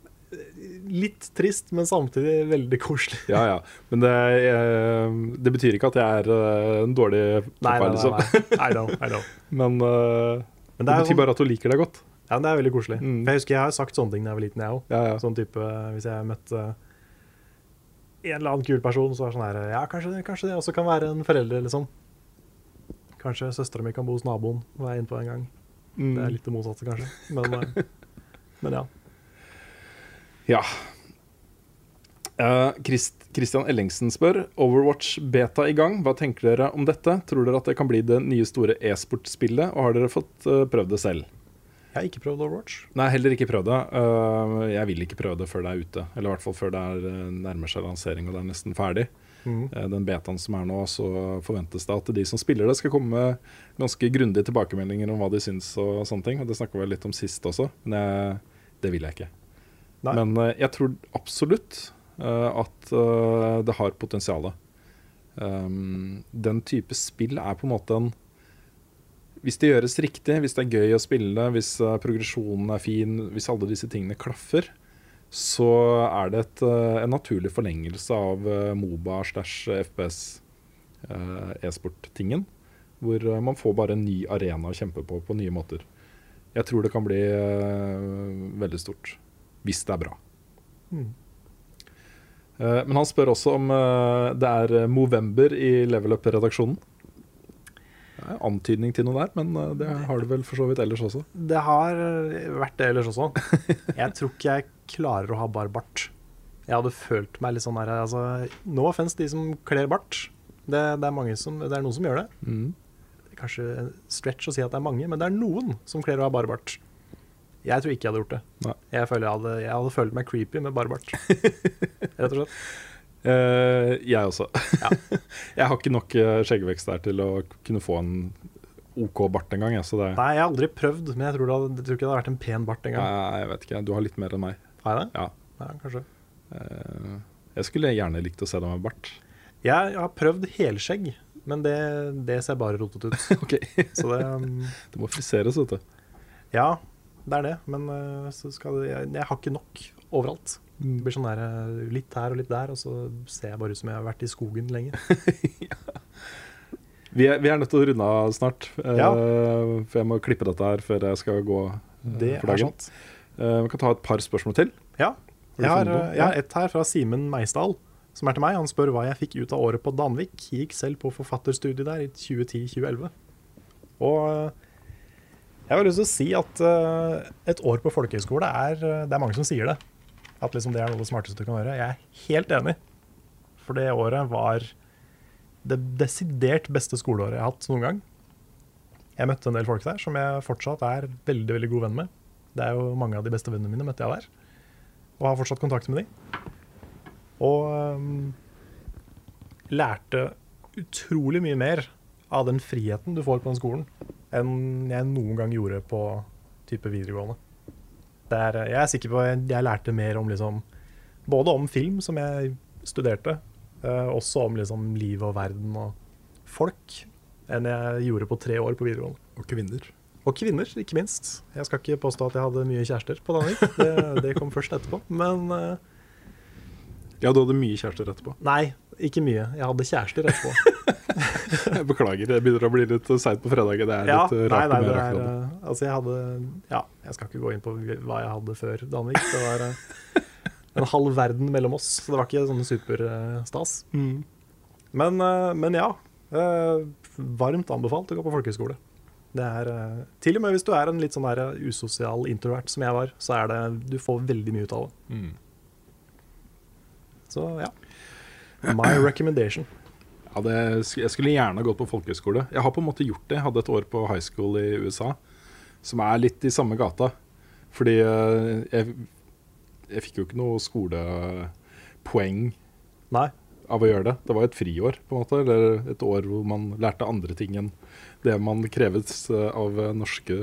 A: eh, Litt trist, men samtidig veldig koselig.
B: Ja, ja. Men det, eh, det betyr ikke at jeg er eh, en dårlig
A: Nei, nei, nei.
B: pappa, liksom.
A: nei. I know, I know.
B: Men, eh,
A: Men
B: det,
A: det er
B: betyr
A: sånn-
B: bare at hun liker deg godt.
A: Ja, men det er veldig koselig.
B: Mm.
A: For Jeg husker jeg har sagt sånne ting da jeg var liten, jeg òg.
B: Ja, ja.
A: Sånn type hvis jeg møtte en eller annen kul person, så er det sånn her Ja, kanskje, kanskje det også kan være en forelder, liksom. Kanskje søstera mi kan bo hos naboen, var jeg inne på en gang.
B: Mm.
A: Det er litt det motsatte, kanskje. Men, eh, men ja.
B: Ja. Eh, Christ, Christian Ellingsen spør Overwatch beta i gang. Hva tenker dere om dette? Tror dere at det kan bli det nye store e-sportspillet? Og har dere fått eh, prøvd det selv?
A: Jeg har ikke prøvd Overwatch.
B: Nei, heller ikke prøvd det. Eh, jeg vil ikke prøve det før det er ute. Eller i hvert fall før det er, eh, nærmer seg lansering og det er nesten ferdig.
A: Mm.
B: Eh, Den betaen som er nå, så forventes det at de som spiller det, skal komme med ganske grundige tilbakemeldinger om hva de syns og sånne ting. Og det snakka vi litt om sist også, men jeg, det vil jeg ikke.
A: Nei.
B: Men eh, jeg tror absolutt eh, at eh, det har potensial. Um, den type spill er på en måte en Hvis det gjøres riktig, hvis det er gøy å spille, hvis eh, progresjonen er fin, hvis alle disse tingene klaffer, så er det et, eh, en naturlig forlengelse av eh, Moba slash FPS eh, e-sport-tingen. Hvor eh, man får bare en ny arena å kjempe på på nye måter. Jeg tror det kan bli eh, veldig stort. Hvis det er bra. Eh, men han spør også om eh, det er eh, Movember i Level Up-redaksjonen. Det er antydning til noe der, men eh, det har det vel for så vidt ellers også.
A: Det har eh, vært det ellers også. Jeg tror ikke jeg klarer å ha bar bart. Jeg hadde følt meg litt sånn her altså, No offense de som kler bart. Det, det, er mange som, det er noen som gjør det.
B: Mm.
A: Det er kanskje en stretch å si at det er mange, men det er noen som kler å ha bar bart. Jeg tror ikke jeg hadde gjort det.
B: Nei.
A: Jeg, føler jeg, hadde, jeg hadde følt meg creepy med bar bart. Rett og slett.
B: Eh, jeg også. jeg har ikke nok eh, skjeggvekst der til å kunne få en OK bart engang. jeg, Så det
A: Nei, jeg har aldri prøvd, men jeg tror, det hadde, jeg tror ikke det hadde vært en pen bart engang.
B: Nei, jeg vet ikke. Du har litt mer enn meg.
A: Har jeg det?
B: Ja.
A: Ja, kanskje.
B: Eh, jeg skulle gjerne likt å se deg med bart.
A: Jeg har prøvd helskjegg, men det, det ser bare rotete ut.
B: Ok,
A: Så det um,
B: Det må friseres, vet du.
A: Ja, det er det, men eh, så skal det, jeg, jeg har ikke nok overalt. Det blir sånn der eh, litt her og litt der, og så ser jeg bare ut som jeg har vært i skogen lenge.
B: Vi er, vi er nødt til å runde av snart, eh,
A: Ja.
B: for jeg må klippe dette her før jeg skal gå eh,
A: Det
B: for
A: er sånn.
B: dagen.
A: sant.
B: Eh, vi kan ta et par spørsmål til.
A: Ja.
B: du
A: Jeg har,
B: funnet noe?
A: eh, jeg har et her fra Simen Meisdal, som er til meg. Han spør hva jeg fikk ut av året på Danvik. Jeg Gikk selv på forfatterstudiet der i 2010-2011. Og eh, jeg har lyst til å si at eh, et år på folkehøyskole er eh, Det er mange som sier det. At liksom det er noe av det smarteste du kan gjøre. Jeg er helt enig. For det året var det desidert beste skoleåret jeg har hatt noen gang. Jeg møtte en del folk der som jeg fortsatt er veldig veldig god venn med. Det er jo Mange av de beste vennene mine møtte jeg der, og har fortsatt kontakt med de. Og øhm, lærte utrolig mye mer av den friheten du får på den skolen, enn jeg noen gang gjorde på type videregående. Det er, jeg er sikker på at jeg lærte mer om liksom, både om film, som jeg studerte, eh, også om liksom, livet og verden og folk, enn jeg gjorde på tre år på videregående.
B: Og kvinner.
A: Og kvinner, ikke minst. Jeg skal ikke påstå at jeg hadde mye kjærester på Danvik, det, det kom først etterpå. Men eh,
B: Ja, du hadde mye kjærester etterpå.
A: nei, ikke mye. Jeg hadde kjærester etterpå.
B: Jeg beklager, det begynner å bli litt seigt på fredagen. Det er
A: Ja,
B: litt
A: nei,
B: eh, rart
A: nei,
B: humør
A: det er,
B: akkurat nå.
A: eh, altså jeg hadde Ja, jeg skal ikke gå inn på hva jeg hadde før Danvik. Det var eh, en halv verden mellom oss, så det var ikke sånn superstas.
B: Mm.
A: Men, eh, men ja. eh, Varmt anbefalt å gå på folkehøyskole. Det er, eh, til og med hvis du er en litt sånn der eh, usosial introvert som jeg var, så er det, du får veldig mye ut av det.
B: Mm.
A: Så ja. My recommendation.
B: Ja, det, sk- jeg skulle gjerne gått på folkehøyskole. Jeg har på en måte gjort det. Jeg hadde et år på high school i USA, som er litt i samme gata. Fordi eh, jeg, jeg fikk jo ikke noe skolepoeng
A: Nei.
B: av å gjøre det. Det var jo et friår, på en måte. Eller et år hvor man lærte andre ting enn det man kreves eh, av eh, norske,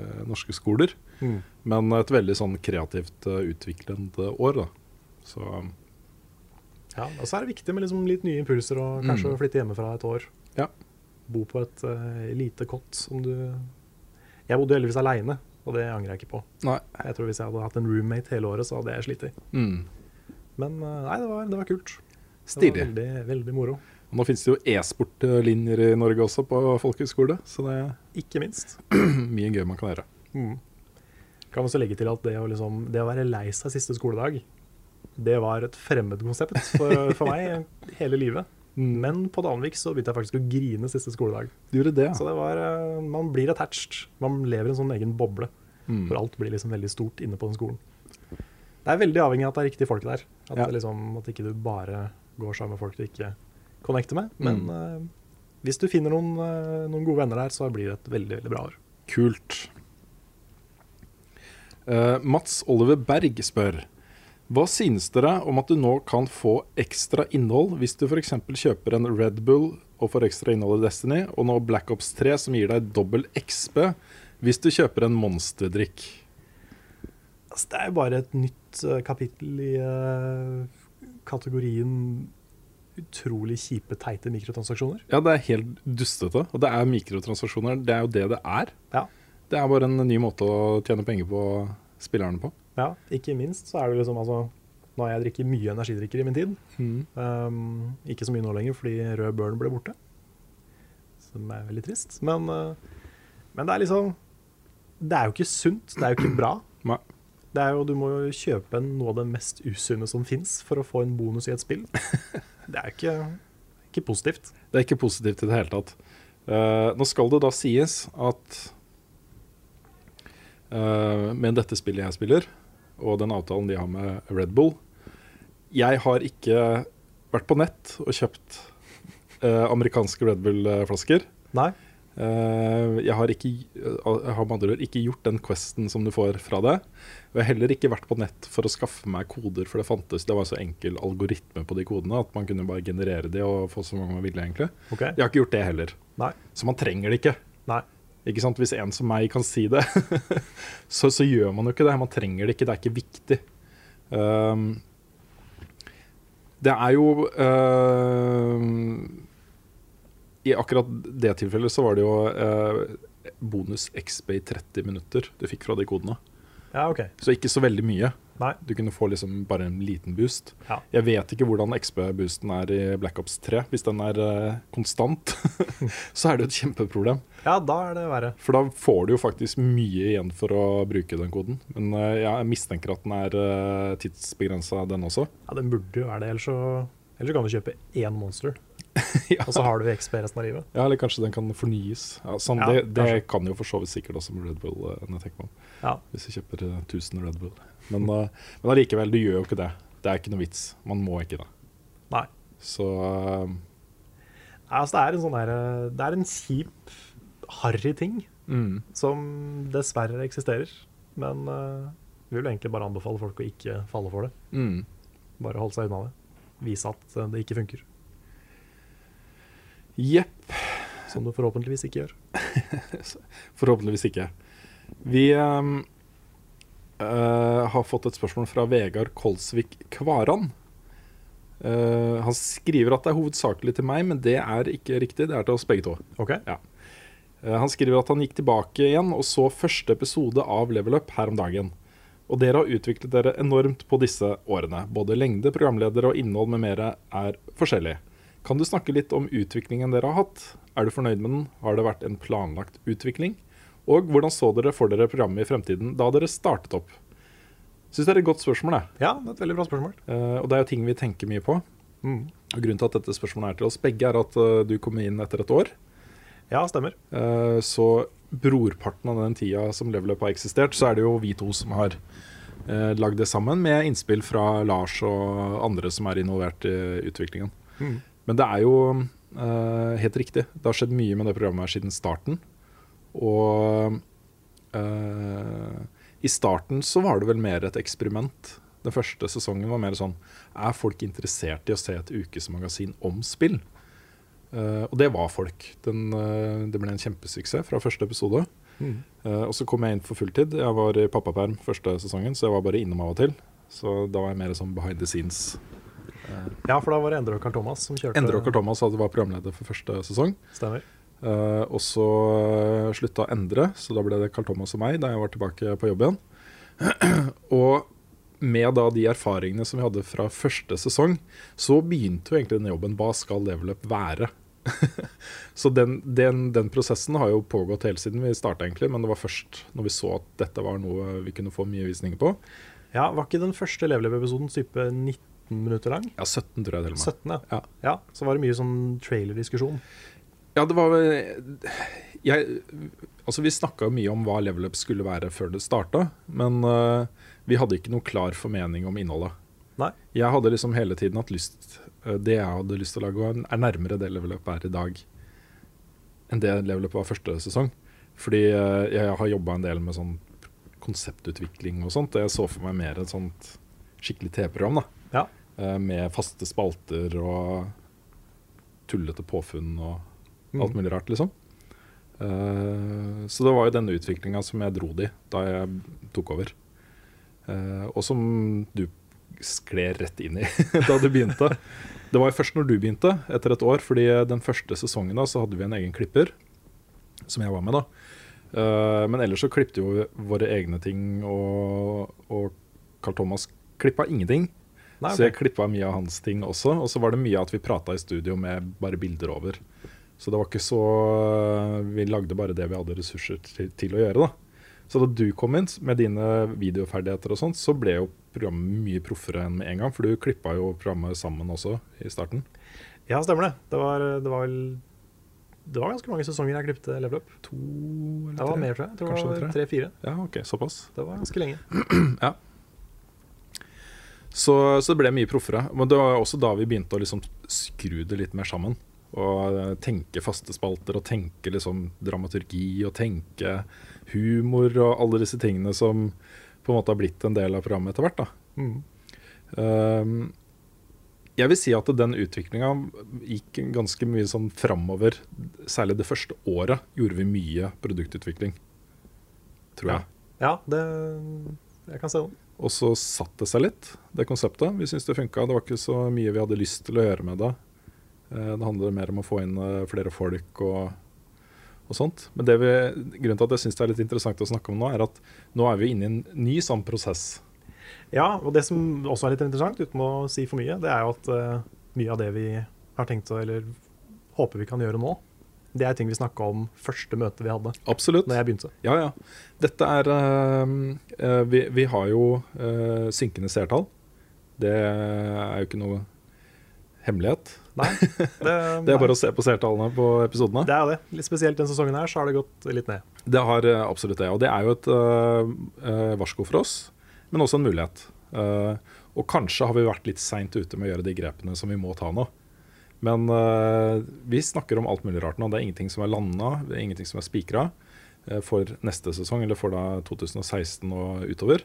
B: eh, norske skoler.
A: Mm.
B: Men et veldig sånn kreativt eh, utviklende år, da. Så um,
A: Ja, og så er det viktig med liksom litt nye impulser og kanskje å flytte hjemmefra et år.
B: Mm. ja.
A: Bo på et eh, lite kott som du Jeg bodde jo heldigvis aleine, og det angrer jeg ikke på.
B: Nei.
A: Jeg tror Hvis jeg hadde hatt en roommate hele året, så hadde jeg slitt.
B: Mm.
A: Men eh, nei, det var, det var kult. Det var
B: Stilig.
A: veldig, veldig moro.
B: Og Nå finnes det jo e-sportlinjer i Norge også på folkehøyskole, så det er
A: Ikke minst. Mm.
B: mye gøy man kan gjøre.
A: Kan også legge til at det å, liksom, det å være lei seg siste skoledag, det var et fremmed konsept for, for meg hele livet.
B: Mm.
A: Men på Danvik så begynte jeg faktisk å grine siste skoledag.
B: Du gjorde det, ja.
A: Så det var, eh, man blir attached. Man lever i en sånn egen boble.
B: Mm.
A: For alt blir liksom veldig stort inne på den skolen. Det er veldig avhengig av at det er riktige folk der. At,
B: Ja.
A: det liksom, at ikke du bare går sammen med folk du ikke connecter med. Men
B: Mm.
A: eh, hvis du finner noen, eh, noen gode venner der, så blir det et veldig, veldig bra år.
B: Kult. Eh, Mats Oliver Berg spør Hva synes dere om at du nå kan få ekstra innhold hvis du f.eks. kjøper en Red Bull og får ekstra innhold i Destiny, og nå Black Ops 3 som gir deg dobbel XP hvis du kjøper en monsterdrikk?
A: Altså, det er jo bare et nytt eh, kapittel i eh, kategorien utrolig kjipe, teite mikrotransaksjoner.
B: Ja, det er helt dustete. Og det er mikrotransaksjoner. Det er jo det det er.
A: Ja.
B: Det er bare en ny måte å tjene penger på spillerne på.
A: Ja, ikke minst så er det liksom altså Nå har jeg drikket mye energidrikker i min tid. Um, ikke så mye nå lenger fordi rød børn ble borte. Som er veldig trist. Men, uh, men det er liksom Det er jo ikke sunt. Det er jo ikke bra.
B: Nei.
A: Det er jo, du må jo kjøpe en- noe av det mest usunne som fins for å få en bonus i et spill. Det er jo ikke, ikke positivt.
B: Det er ikke positivt i det hele tatt. Eh, nå skal det da sies at eh, med dette spillet jeg spiller, og den avtalen de har med Red Bull Jeg har ikke vært på nett og kjøpt eh, amerikanske Red Bull-flasker.
A: Nei.
B: Eh, jeg har, ikke, jeg har med andre ord ikke gjort den questen som du får fra deg. Og jeg har heller ikke vært på nett for å skaffe meg koder, for det fantes Det var så enkel algoritme på de kodene at man kunne bare generere de og få så mange man ville, egentlig.
A: Ok.
B: Jeg har ikke gjort det heller.
A: Nei.
B: Så man trenger det ikke.
A: Nei.
B: Ikke sant? Hvis en som meg kan si det, så, så gjør man jo ikke det. Man trenger det ikke, det er ikke viktig. Ehm, det er jo ehm, I akkurat det tilfellet så var det jo eh, bonus XB i 30 minutter du fikk fra de kodene.
A: Ja, OK.
B: Så ikke så veldig mye.
A: Nei.
B: Du kunne få liksom bare en liten boost.
A: Ja.
B: Jeg vet ikke hvordan XB-boosten er i Black Ops 3. Hvis den er eh, konstant, så er det jo et kjempeproblem.
A: Ja, da er det verre.
B: For da får du jo faktisk mye igjen for å bruke den koden. Men eh, jeg mistenker at den er uh, tidsbegrensa, den også.
A: Ja, Den burde jo være det, ellers så, ellers så kan du kjøpe én monster,
B: ja.
A: og så har du XP resten av livet.
B: ja, Eller kanskje den kan fornyes. Ja, sånn,
A: Ja,
B: det det kan jo for så vidt sikkert også med Red Bull, eh, når jeg tenker meg om.
A: Ja.
B: Hvis du kjøper eh, 1000 Red Bull. Men, eh, men allikevel, du gjør jo ikke det. Det er ikke noe vits. Man må ikke det.
A: Nei.
B: Så eh,
A: Ja, Altså, det, er en sånn der, eh, det er en kjip harry ting
B: Mm.
A: som dessverre eksisterer. Men eh, vi vil egentlig bare anbefale folk å ikke falle for det.
B: Mm.
A: Bare holde seg unna det. Vise at eh, det ikke funker.
B: Jepp.
A: Som du forhåpentligvis ikke gjør.
B: Forhåpentligvis ikke. Vi ehm, eh, har fått et spørsmål fra Vegard Kolsvik Kvaran. Eh, han skriver at det er hovedsakelig til meg, men det er ikke riktig. Det er til oss begge to.
A: OK?
B: Eh, Han skriver at han gikk tilbake igjen og så første episode av Level Up her om dagen. Og dere har utviklet dere enormt på disse årene. Både lengde, programledere og innhold med mere er forskjellig. Kan du snakke litt om utviklingen dere har hatt? Er du fornøyd med den? Har det vært en planlagt utvikling? Og hvordan så dere for dere programmet i fremtiden da dere startet opp? Syns det er et godt spørsmål, jeg.
A: Ja, det er et veldig bra spørsmål.
B: Eh, og det er jo ting vi tenker mye på. Mm. Og Grunnen til at dette spørsmålet er til oss begge, er at eh, du kom inn etter et år.
A: Ja, stemmer.
B: Eh, Så brorparten av den tida som Level Up har eksistert, så er det jo vi to som har eh, lagd det sammen, med innspill fra Lars og andre som er involvert i utviklingen. Men det er jo eh, helt riktig. Det har skjedd mye med det programmet her siden starten. Og eh, i starten så var det vel mer et eksperiment. Den første sesongen var mer sånn Er folk interessert i å se et ukesmagasin om spill? Eh, og det var folk. Den, eh, det ble en kjempesuksess fra første episode. Eh, og så kom jeg inn for fulltid. Jeg var i pappaperm første sesongen, så jeg var bare innom av og til. Så da var jeg mer sånn behind the scenes. Eh,
A: Ja, for da var det Endre og Karl Thomas som kjørte.
B: Endre og Carl Thomas hadde var programleder for første sesong.
A: Stemmer.
B: Eh, og så eh, slutta Endre, så da ble det Carl Thomas og meg da jeg var tilbake på jobb igjen. og med da de erfaringene som vi hadde fra første sesong, så begynte jo egentlig denne jobben. Hva skal Level Up være? så den, den, den prosessen har jo pågått hele siden vi starta, egentlig. Men det var først når vi så at dette var noe vi kunne få mye visninger på.
A: Ja, var ikke den første Leveløp-episoden type 19 minutter lang?
B: Ja, 17 tror jeg til og med.
A: 17, ja.
B: Ja.
A: Ja, så var det mye sånn trailerdiskusjon.
B: Ja, det var vel- jeg, Altså, vi snakka mye om hva level up skulle være før det starta, men øh, vi hadde ikke noe klar formening om innholdet.
A: Nei.
B: Jeg hadde liksom hele tiden hatt lyst øh, Det jeg hadde lyst til å lage, var- er nærmere det level up er i dag, enn det level up var første sesong. Fordi øh, jeg har jobba en del med sånn konseptutvikling og sånt. og Jeg så for meg mer et sånt skikkelig TV-program, da.
A: Ja.
B: Eh, med faste spalter og tullete påfunn og alt mulig rart, liksom. Eh, så det var jo denne utviklinga som jeg dro det i da jeg tok over. Eh, og som du skled rett inn i da du begynte. Det var jo først når du begynte, etter et år, fordi den første sesongen da så hadde vi en egen klipper, som jeg var med, da. Eh, men ellers så klippte jo våre egne ting, og, og Carl Thomas klippa ingenting.
A: Nei, ok.
B: Så jeg klippa mye av hans ting også. Og så var det mye at vi prata i studio med bare bilder over. Så det var ikke så eh, Vi lagde bare det vi hadde ressurser til, til å gjøre, da. Så da du kom inn med dine videoferdigheter og sånt, så ble jo programmet mye proffere enn med en gang. For du klippa jo programmet sammen også i starten.
A: ja, stemmer det. Det var, det var vel Det var ganske mange sesonger jeg klippet Leveløp. To eller Det var
B: tre?
A: mer, tror jeg. jeg tror
B: Kanskje det
A: det
B: var
A: var tre-fire.
B: Ja, OK, såpass.
A: Det var ganske lenge.
B: Så, så det ble mye proffere. Men det var også da vi begynte å liksom skru det litt mer sammen. Og eh, tenke faste spalter, og tenke liksom dramaturgi, og tenke humor, og alle disse tingene som på en måte har blitt en del av programmet etter hvert. da. Um, jeg vil si at den utviklinga gikk ganske mye sånn framover. Særlig det første året gjorde vi mye produktutvikling, tror jeg.
A: Ja, det Jeg kan se den.
B: Og så satt det seg litt, det konseptet. Vi syntes det funka. Det var ikke så mye vi hadde lyst til å gjøre med det. Eh, Det handler mer om å få inn eh, flere folk og, og sånt. Men det vi, grunnen til at jeg syns det er litt interessant å snakke om nå, er at nå er vi inne i en ny sånn prosess.
A: Ja, og det som også er litt interessant, uten å si for mye, det er jo at eh, mye av det vi har tenkt å, eller håper vi kan gjøre nå, det er ting vi snakka om første møte vi hadde
B: Absolutt.
A: da jeg begynte.
B: Ja, ja. Dette er eh, eh, vi, vi har jo eh, synkende seertall. Det er jo ikke noe hemmelighet.
A: Nei, det,
B: Det er bare å se på seertallene på episodene.
A: Det er jo det. Litt spesielt denne sesongen her, så har det gått litt ned.
B: Det har eh, absolutt det. Og det er jo et eh, eh, varsko for oss, men også en mulighet. Eh, og kanskje har vi vært litt seint ute med å gjøre de grepene som vi må ta nå. Men eh, vi snakker om alt mulig rart nå. Det er ingenting som er landa, det er ingenting som er spikra eh, for neste sesong, eller for da 2016 og utover.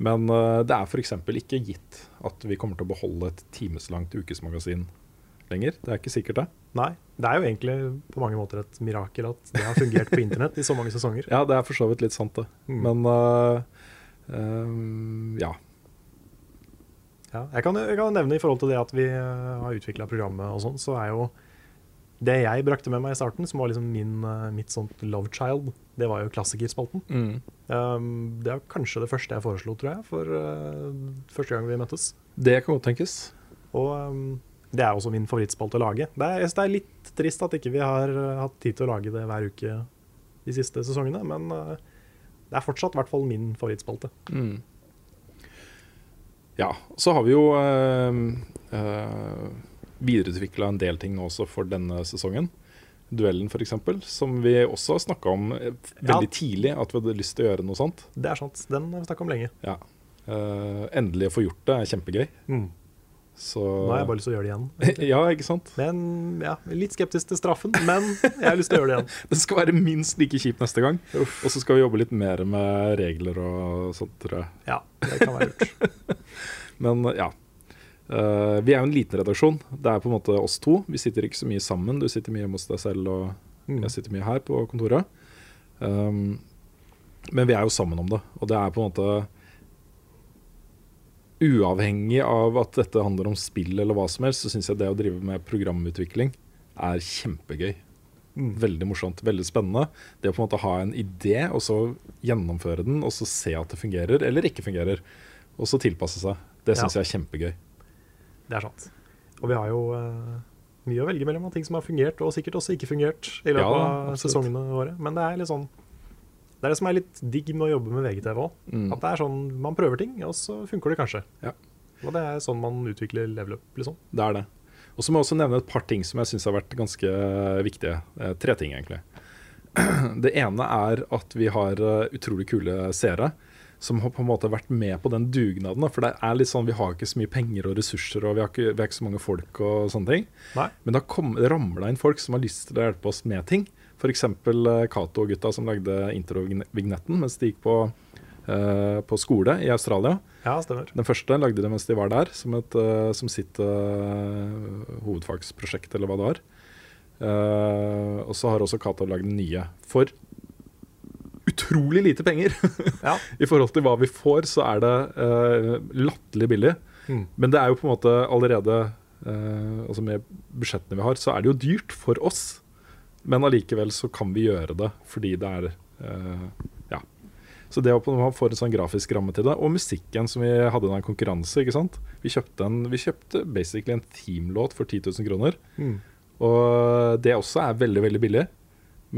B: Men eh, det er f.eks. ikke gitt at vi kommer til å beholde et timeslangt ukesmagasin lenger. Det er ikke sikkert, det.
A: Nei, det er jo egentlig på mange måter et mirakel at det har fungert på internett i så mange sesonger.
B: Ja, det er for så vidt litt sant, det.
A: Mm.
B: Men eh, eh, ja.
A: Ja, jeg, kan, jeg kan nevne i forhold til det at vi eh, har utvikla programmet og sånn, så er jo det jeg brakte med meg i starten, som var liksom min, eh, mitt sånt love child, det var jo klassikerspalten. Um, det er kanskje det første jeg foreslo, tror jeg, for eh, første gang vi møttes.
B: Det kan godt tenkes.
A: Og um, det er også min favorittspalte å lage. Det er, jeg synes det er litt trist at ikke vi har eh, hatt tid til å lage det hver uke de siste sesongene, men eh, det er fortsatt i hvert fall min favorittspalte.
B: Ja, så har vi jo øh, videreutvikla en del ting nå også for denne sesongen. Duellen f.eks., som vi også snakka om eh,
A: Ja.
B: veldig tidlig at vi hadde lyst til å gjøre noe sånt.
A: Det er sant. Den har vi snakka om lenge.
B: Ja. Eh, endelig å få gjort det er kjempegøy.
A: Mm.
B: Så
A: Nå har jeg bare lyst til å gjøre det igjen.
B: Ja, ikke sant?
A: Men ja, litt skeptisk til straffen, men jeg har lyst til å gjøre det igjen.
B: Det skal være minst like kjipt neste gang. Og så skal vi jobbe litt mer med regler og sånt, tror jeg.
A: Ja, det kan være lurt.
B: Men ja. Eh, vi er jo en liten redaksjon. Det er på en måte oss to. Vi sitter ikke så mye sammen. Du sitter mye hjemme hos deg selv, og
A: Mm.
B: jeg sitter mye her på kontoret. Um, men vi er jo sammen om det, og det er på en måte Uavhengig av at dette handler om spill eller hva som helst, så syns jeg det å drive med programutvikling er kjempegøy.
A: Mm.
B: Veldig morsomt, veldig spennende. Det å på en måte ha en idé, og så gjennomføre den, og så se at det fungerer eller ikke fungerer. Og så tilpasse seg. Det syns
A: Ja.
B: jeg er kjempegøy.
A: Det er sant. Og vi har jo eh, mye å velge mellom av ting som har fungert, og sikkert også ikke fungert i løpet
B: Ja,
A: av
B: absolutt.
A: sesongene våre. Men det er litt sånn Det er det som er litt digg med å jobbe med VGTV òg. At det er sånn man prøver ting, og så funker det kanskje.
B: Ja.
A: Og det er sånn man utvikler level up, liksom.
B: Det er det. Og så må jeg også nevne et par ting som jeg syns har vært ganske viktige. Eh, tre ting, egentlig. Det ene er at vi har eh, utrolig kule seere som har på en måte vært med på den dugnaden. da. For det er litt sånn, vi har ikke så mye penger og ressurser, og vi har ikke, vi har ikke så mange folk og sånne ting.
A: Nei.
B: Men da kom, det ramla inn folk som har lyst til å hjelpe oss med ting. F.eks. Cato og gutta som lagde introvignetten mens de gikk på, eh, på skole i Australia.
A: Ja, stemmer.
B: Den første lagde de mens de var der, som, et, eh, som sitt eh, hovedfagsprosjekt, eller hva det var. Eh, og så har også Cato lagd den nye. For utrolig lite penger!
A: Ja.
B: I forhold til hva vi får, så er det eh, latterlig billig.
A: Mm.
B: Men det er jo på en måte allerede eh, Altså med budsjettene vi har, så er det jo dyrt for oss. Men allikevel så kan vi gjøre det fordi det er eh, Ja. Så det å på- man får en sånn grafisk ramme til det, og musikken som vi hadde da en konkurranse, ikke sant. Vi kjøpte, en, vi kjøpte basically en teamlåt for 10 000 kroner.
A: Mm.
B: Og det også er veldig, veldig billig.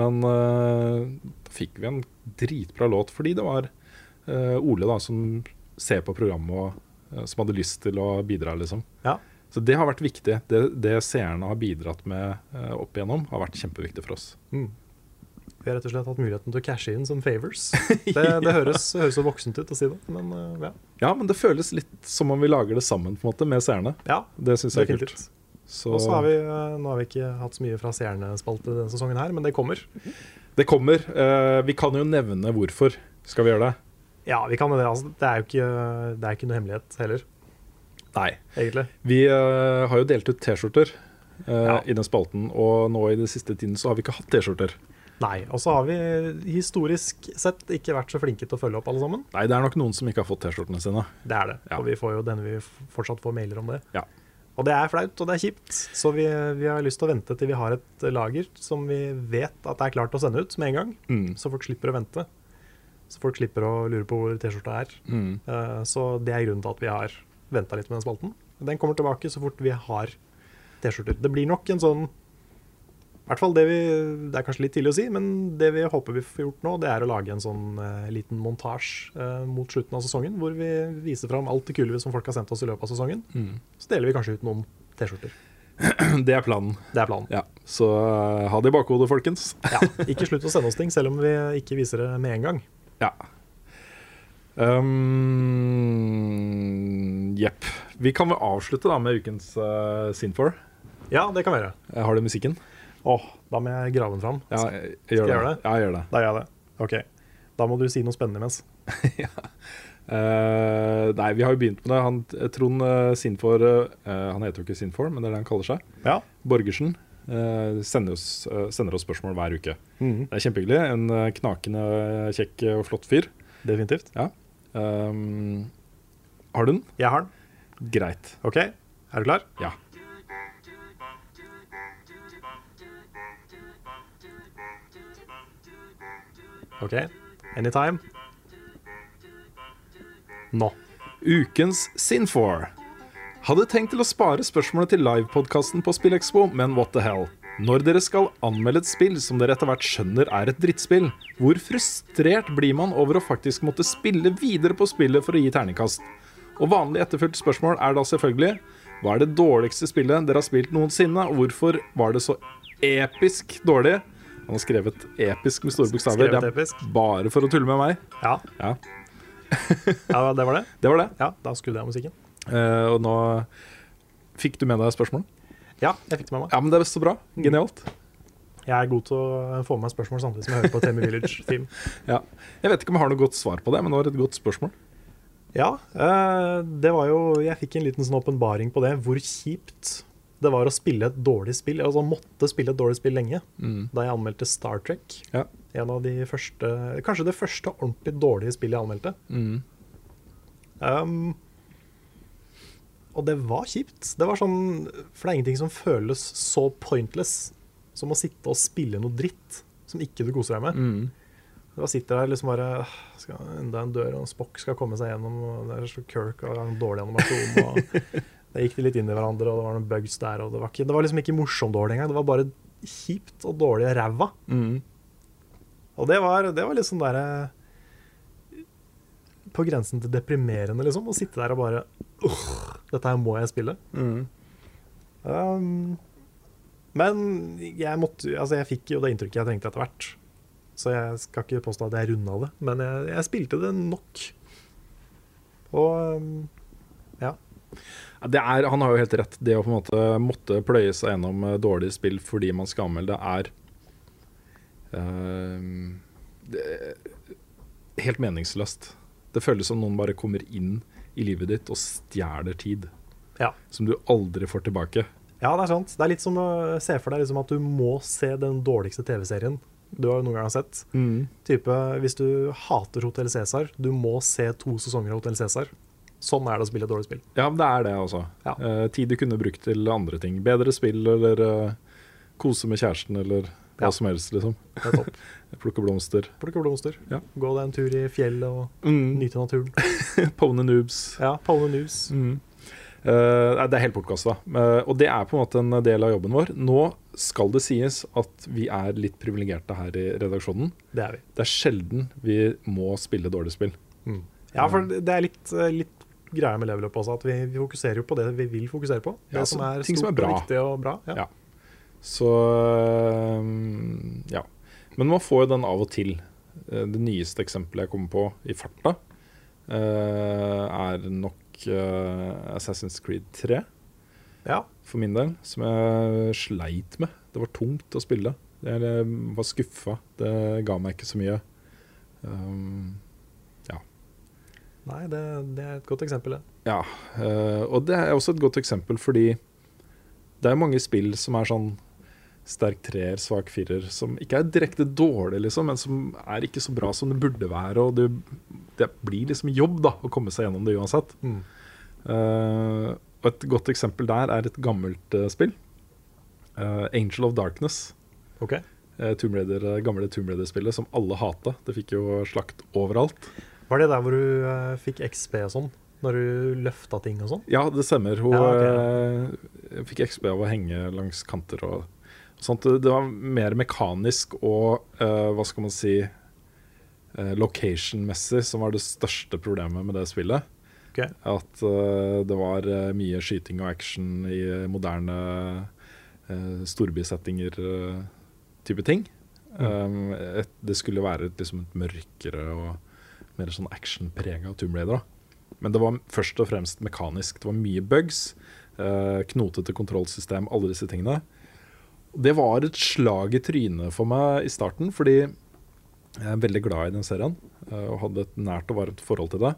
B: Men eh, da fikk vi en dritbra låt fordi det var eh, Ole da som ser på programmet og eh, som hadde lyst til å bidra, liksom.
A: Ja.
B: Så det har vært viktig. Det, det seerne har bidratt med eh, opp igjennom, har vært kjempeviktig for oss.
A: Vi har rett og slett hatt muligheten til å cashe inn som favors. Det, det høres, høres så voksent ut å si det, men eh, ja.
B: Ja, men det føles litt som om vi lager det sammen på en måte med seerne.
A: ja
B: Det syns jeg er kult.
A: definitivt.
B: Så
A: Og så har vi eh, Nå har vi ikke hatt så mye fra seerne-spalte denne sesongen her, men det kommer.
B: det kommer. Eh, vi kan jo nevne hvorfor. Skal vi gjøre det?
A: Ja, vi kan jo det. Altså. Det er jo ikke, det er ikke noe hemmelighet heller,
B: Nei.
A: egentlig.
B: Vi eh, har jo delt ut T-skjorter eh,
A: Ja.
B: i den spalten, og nå i den siste tiden så har vi ikke hatt T-skjorter.
A: Nei. Og så har vi historisk sett ikke vært så flinke til å følge opp alle sammen.
B: Nei, det er nok noen som ikke har fått T-skjortene sine.
A: Det er det.
B: Ja.
A: Og vi får jo denne vi f- fortsatt får mailer om det.
B: Ja.
A: Og det er flaut, og det er kjipt, så vi, vi har lyst til å vente til vi har et lager som vi vet at er klart å sende ut med en gang,
B: Mm.
A: så folk slipper å vente. Så folk slipper å lure på hvor T-skjorta er.
B: Mm.
A: Eh, Så det er grunnen til at vi har venta litt med den spalten. Den kommer tilbake så fort vi har T-skjorter. Det blir nok en sånn i hvert fall det vi, Det er kanskje litt tidlig å si, men det vi håper vi får gjort nå, det er å lage en sånn eh, liten montasje eh, mot slutten av sesongen, hvor vi viser fram alt det kule som folk har sendt oss i løpet av sesongen. Så deler vi kanskje ut noen T-skjorter.
B: Det er planen.
A: Det er planen.
B: Ja. Så eh, ha det i bakhodet, folkens.
A: Ja, ikke slutt å sende oss ting, selv om vi ikke viser det med en gang.
B: Ja. Ehm, Um, Jepp. Vi kan vel avslutte da med ukens uh, Sinfor.
A: Ja, det kan være.
B: Eh, Har du musikken?
A: Åh, da må jeg grave den fram.
B: Ja, jeg, jeg gjør
A: Skal jeg
B: det.
A: gjøre det?
B: Ja, jeg gjør det.
A: Da gjør jeg det. Ok. Da må du si noe spennende imens.
B: Eh, nei, vi har jo begynt med det. Han, eh, Trond eh, Sinfor eh, Han heter jo ikke Sinfor, men det er det han kaller seg.
A: Ja.
B: Borgersen eh, sender, oss, eh, sender oss spørsmål hver uke.
A: Mhm.
B: Det er kjempehyggelig. En eh, knakende eh, kjekk og flott fyr.
A: Definitivt.
B: Ja. Ehm, har du den?
A: Jeg har den.
B: Greit.
A: Ok, er du klar?
B: Ja.
A: Ok. Anytime. Nå.
B: Ukens Sinfor. Hadde tenkt til å spare spørsmålet til livepodkasten på SpillExpo, men what the hell. Når dere skal anmelde et spill som dere etter hvert skjønner er et drittspill, hvor frustrert blir man over å faktisk måtte spille videre på spillet for å gi terningkast? Og vanlig etterfulgt spørsmål er da selvfølgelig Hva er det dårligste spillet dere har spilt noensinne, og hvorfor var det så episk dårlig? Han har skrevet 'episk' med store bokstaver.
A: Skrevet
B: Det er
A: episk.
B: bare for å tulle med meg.
A: Ja.
B: Ja,
A: ja, det var det.
B: Det var det.
A: Ja, Da skrudde jeg av musikken.
B: Eh, og nå fikk du med deg spørsmål.
A: Ja, jeg fikk det med meg.
B: Ja, men det er så bra. Genialt.
A: Jeg er god til å eh, få med meg spørsmål samtidig som jeg hører på Temi Village-film.
B: Ja. Jeg vet ikke om jeg har noe godt svar på det, men det var et godt spørsmål.
A: Ja, eh, det var jo Jeg fikk en liten sånn åpenbaring på det. Hvor kjipt det var å spille et dårlig spill. Altså måtte spille et dårlig spill lenge. Da jeg anmeldte Star Trek.
B: Ja.
A: En av de første Kanskje det første ordentlig dårlige spillet jeg anmeldte. Um, og det var kjipt. Det var sånn For det er ingenting som føles så pointless som å sitte og spille noe dritt som ikke du koser deg med. Du bare sitter der liksom bare «Åh, skal, Enda en dør, og Spock skal komme seg gjennom, og det er så Kirk og en dårlig animasjon. Og det gikk de litt inn i hverandre, og det var noen bugs der, og det var, ikke, det var liksom ikke morsomt dårlig engang. Det var bare kjipt og dårlig og ræva. Og det var, det var litt sånn derre På grensen til deprimerende, liksom. Å sitte der og bare «Åh, Dette her må jeg spille. Um, men jeg måtte Altså, jeg fikk jo det inntrykket jeg trengte etter hvert. Så jeg skal ikke påstå at jeg runda det, men jeg, jeg spilte det nok. Og um, ja.
B: Ja, Det er, han har jo helt rett. Det å på en måte måtte pløye seg gjennom eh, dårlige spill fordi man skal anmelde, er eh, det, helt meningsløst. Det føles som noen bare kommer inn i livet ditt og stjeler tid
A: ja.
B: som du aldri får tilbake.
A: Ja, det er sant. Det er litt som å se for deg liksom at du må se den dårligste TV-serien du har noen gang sett.
B: Mm.
A: Type, hvis du hater Hotell Cæsar, du må se to sesonger av Hotell Cæsar. Sånn er det å spille et dårlig spill.
B: Ja, men det er det, altså.
A: Ja.
B: Eh, tid du kunne brukt til andre ting. Bedre spill eller eh, kose med kjæresten eller hva
A: Ja.
B: som helst, liksom.
A: Det er topp.
B: Plukke blomster.
A: Plukke blomster,
B: Ja.
A: gå deg en tur i fjellet og nyte naturen.
B: Pone noobs.
A: Ja, Pone News.
B: Eh, nei, det er helt bortkasta. Eh, og det er på en måte en del av jobben vår. Nå skal det sies at vi er litt privilegerte her i redaksjonen.
A: Det er vi.
B: Det er sjelden vi må spille dårlig spill.
A: Ja, for
B: Mm.
A: det er litt, eh, litt greia med level up også, at vi, vi fokuserer jo på det vi vil fokusere på.
B: Ja,
A: det som
B: så
A: er
B: ting som
A: stort
B: er bra.
A: og viktig og bra. Ja.
B: Ja. Så eh, ja. Men man får jo den av og til. Eh, Det nyeste eksempelet jeg kommer på i farta, eh, er nok eh, Assassin's Creed 3,
A: Ja.
B: for min del, som jeg sleit med. Det var tungt å spille. Jeg eh, var skuffa. Det ga meg ikke så mye. Um,
A: Nei, det, det er et godt eksempel, det.
B: Ja, eh, og det er også et godt eksempel fordi det er mange spill som er sånn sterk treer, svak firer, som ikke er direkte dårlig, liksom, men som er ikke så bra som det burde være. Og det, det blir liksom jobb da, å komme seg gjennom det uansett.
A: Mm.
B: Eh, og et godt eksempel der er et gammelt eh, spill. Eh, Angel of Darkness.
A: Ok.
B: eh, Tomb Raider, eh, gamle Tomb Raider-spillet som alle hata. Det fikk jo slakt overalt.
A: Var det der hvor du eh, fikk XP og sånn? Når du løfta ting og sånn?
B: Ja, det stemmer. Hun
A: Ja, ok,
B: eh, fikk XB av å henge langs kanter og sånt. Det var mer mekanisk og eh, hva skal man si eh, location-messig som var det største problemet med det spillet.
A: Ok.
B: At eh, det var eh, mye skyting og action i moderne eh, storbysettinger eh, type ting.
A: Mm.
B: Um, et, det skulle være et, liksom et mørkere og mer sånn actionprega Tomb Raider. Da. Men det var først og fremst mekanisk. Det var mye bugs. eh, knotete kontrollsystem, alle disse tingene. Det var et slag i trynet for meg i starten, fordi jeg er veldig glad i den serien eh, og hadde et nært og varmt forhold til det.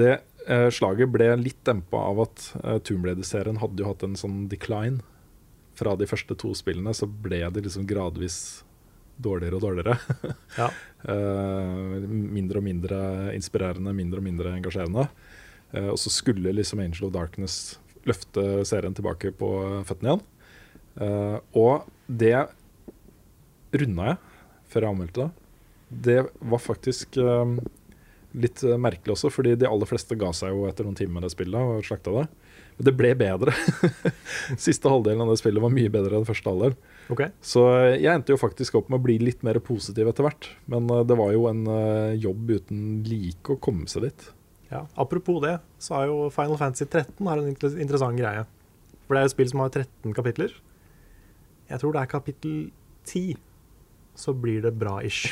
B: Det eh, slaget ble litt dempa av at eh, Tomb Raider-serien hadde jo hatt en sånn decline. Fra de første to spillene så ble de liksom gradvis dårligere og dårligere.
A: Ja.
B: Eh, mindre og mindre inspirerende, mindre og mindre engasjerende. Eh, og så skulle liksom Angel of Darkness løfte serien tilbake på føttene igjen. Eh, og det runda jeg før jeg anmeldte det. Det var faktisk eh, litt eh, merkelig også, fordi de aller fleste ga seg jo etter noen timer med det spillet og slakta det. Men det ble bedre. Siste halvdelen av det spillet var mye bedre enn første halvdel.
A: Ok.
B: Så eh, jeg endte jo faktisk opp med å bli litt mer positiv etter hvert. Men eh, det var jo en eh, jobb uten like å komme seg dit.
A: Ja. Apropos det, så er jo Final Fantasy 13 er en inter- interessant greie. For det er et spill som har 13 kapitler. Jeg tror det er kapittel 10, så blir det bra-ish.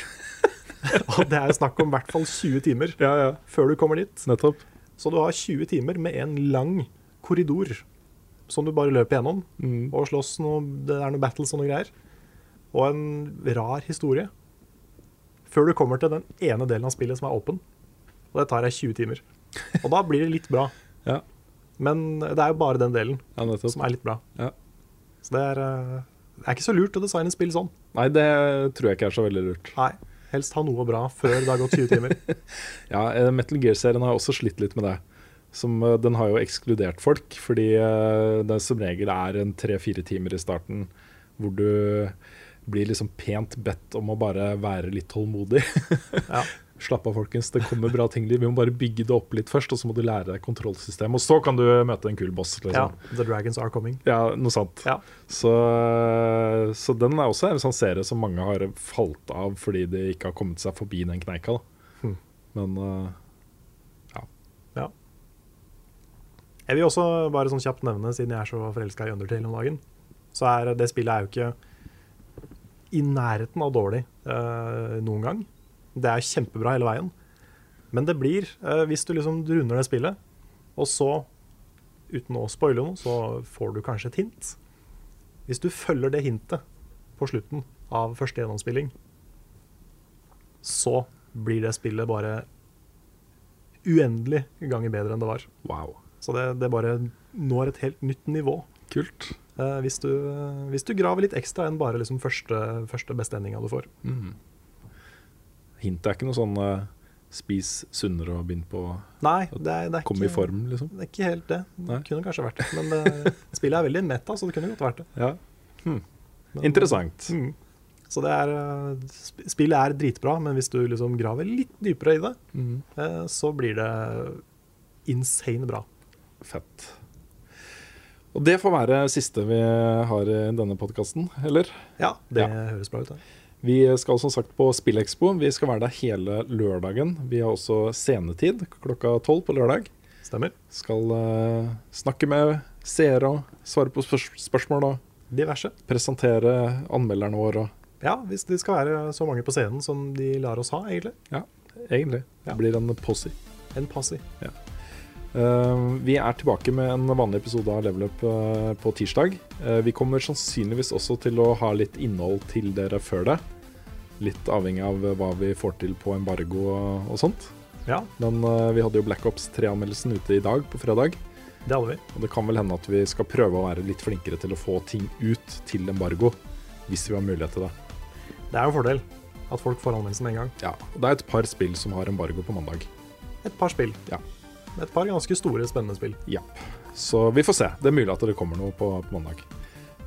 A: Og det er snakk om i hvert fall 20 timer før du kommer dit.
B: Nettopp.
A: Så du har 20 timer med en lang korridor som du bare løper gjennom
B: Mm.
A: og slåss noe, det er noe battles og noe greier. Og en rar historie. Før du kommer til den ene delen av spillet som er åpen. Og det tar deg 20 timer. Og da blir det litt bra.
B: Ja.
A: Men det er jo bare den delen
B: Ja, nettopp.
A: som er litt bra.
B: Ja.
A: Så det er, eh, det er ikke så lurt å designe spill sånn.
B: Nei, det tror jeg ikke er så veldig lurt.
A: Nei, helst ha noe bra før det har gått 20 timer.
B: Ja, eh, Metal Gear-serien har også slitt litt med det. Som, eh, den har jo ekskludert folk, fordi eh, det som regel er en tre-fire timer i starten hvor du blir liksom pent bedt om å bare være litt tålmodig.
A: Ja.
B: Slapp av, folkens. Det kommer bra ting. Vi må bare bygge det opp litt først, og så må du lære deg kontrollsystemet. Og så kan du møte en kul boss.
A: Ja,
B: Liksom.
A: The Dragons Are Coming.
B: Ja, noe sant.
A: Ja.
B: Så, så den er også en sånn serie som mange har falt av fordi de ikke har kommet seg forbi den kneika. Da.
A: Hmm.
B: Men eh,
A: Ja. Jeg vil også bare sånn kjapt nevne, siden jeg er så forelska i Undertale om dagen, så er det spillet er jo ikke i nærheten av dårlig eh, noen gang. Det er kjempebra hele veien. Men det blir, eh, hvis du liksom runder det spillet, og så, uten å spoile noe, så får du kanskje et hint. Hvis du følger det hintet på slutten av første gjennomspilling, så blir det spillet bare uendelig ganger bedre enn det var.
B: wow.
A: Så det, det bare når et helt nytt nivå.
B: Kult.
A: eh, hvis, du, hvis du graver litt ekstra enn bare liksom første, første beste endinga du får.
B: Hintet er ikke noe sånn eh, spis sunnere og begynn på å
A: Nei, det er, det er
B: komme
A: ikke,
B: i form, liksom.
A: Det er ikke helt det.
B: Nei.
A: Det kunne kanskje vært det. Men eh, spillet er veldig meta, så det kunne godt vært det. Mm.
B: Ja.
A: Hmm.
B: Interessant.
A: Så det er, eh, sp- spillet er dritbra, men hvis du liksom graver litt dypere i det, eh, så blir det insane bra.
B: Fett. Og det får være siste vi har i denne podkasten, eller?
A: Ja, det
B: Ja.
A: høres bra ut. Det.
B: Vi skal som sagt på Spillekspo. Vi skal være der hele lørdagen. Vi har også senetid klokka tolv på lørdag.
A: Stemmer.
B: Skal eh, snakke med seere og svare på spørs spørsmål og
A: Diverse.
B: presentere anmelderne våre og
A: Ja, hvis det skal være så mange på scenen som de lar oss ha, egentlig.
B: Ja, egentlig. Det blir en posy.
A: En passi.
B: Eh, vi er tilbake med en vanlig episode av Level Up eh, på tirsdag. Eh, vi kommer sannsynligvis også til å ha litt innhold til dere før det. Litt avhengig av hva vi får til på embargo og, og sånt.
A: Ja,
B: Men eh, vi hadde jo Black Ops 3-anmeldelsen ute i dag, på fredag.
A: det hadde vi.
B: Og det kan vel hende at vi skal prøve å være litt flinkere til å få ting ut til embargo. Hvis vi har mulighet til det.
A: Det er jo en fordel at folk får anmeldelsen med en gang.
B: Ja, og Det er et par spill som har embargo på mandag.
A: Et par spill.
B: Ja.
A: Et par ganske store, spennende spill.
B: Ja. Så vi får se. Det er mulig at det kommer noe på, på mandag.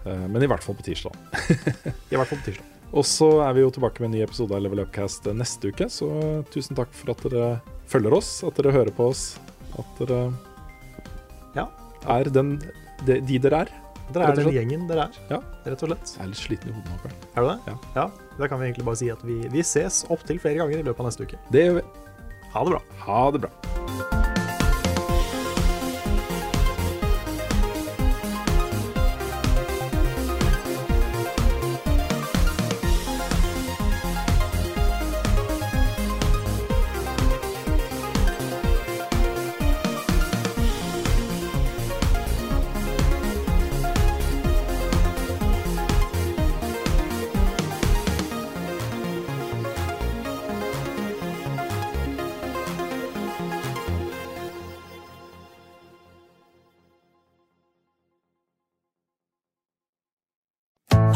B: Eh, men i hvert fall på tirsdag.
A: I hvert fall på tirsdag.
B: Og så er vi jo tilbake med en ny episode av Level Upcast neste uke, så tusen takk for at dere følger oss, at dere hører på oss, at dere
A: Ja.
B: er den, de, de dere er.
A: Dere
B: Rett og
A: er den
B: slett.
A: gjengen dere er,
B: Ja.
A: rett og slett.
B: Jeg er litt sliten i hodet nå. Karl.
A: Er du det?
B: Ja.
A: ja. Da kan vi egentlig bare si at vi, vi ses opptil flere ganger i løpet av neste uke.
B: Det gjør vi.
A: Ha det bra.
B: Ha det bra.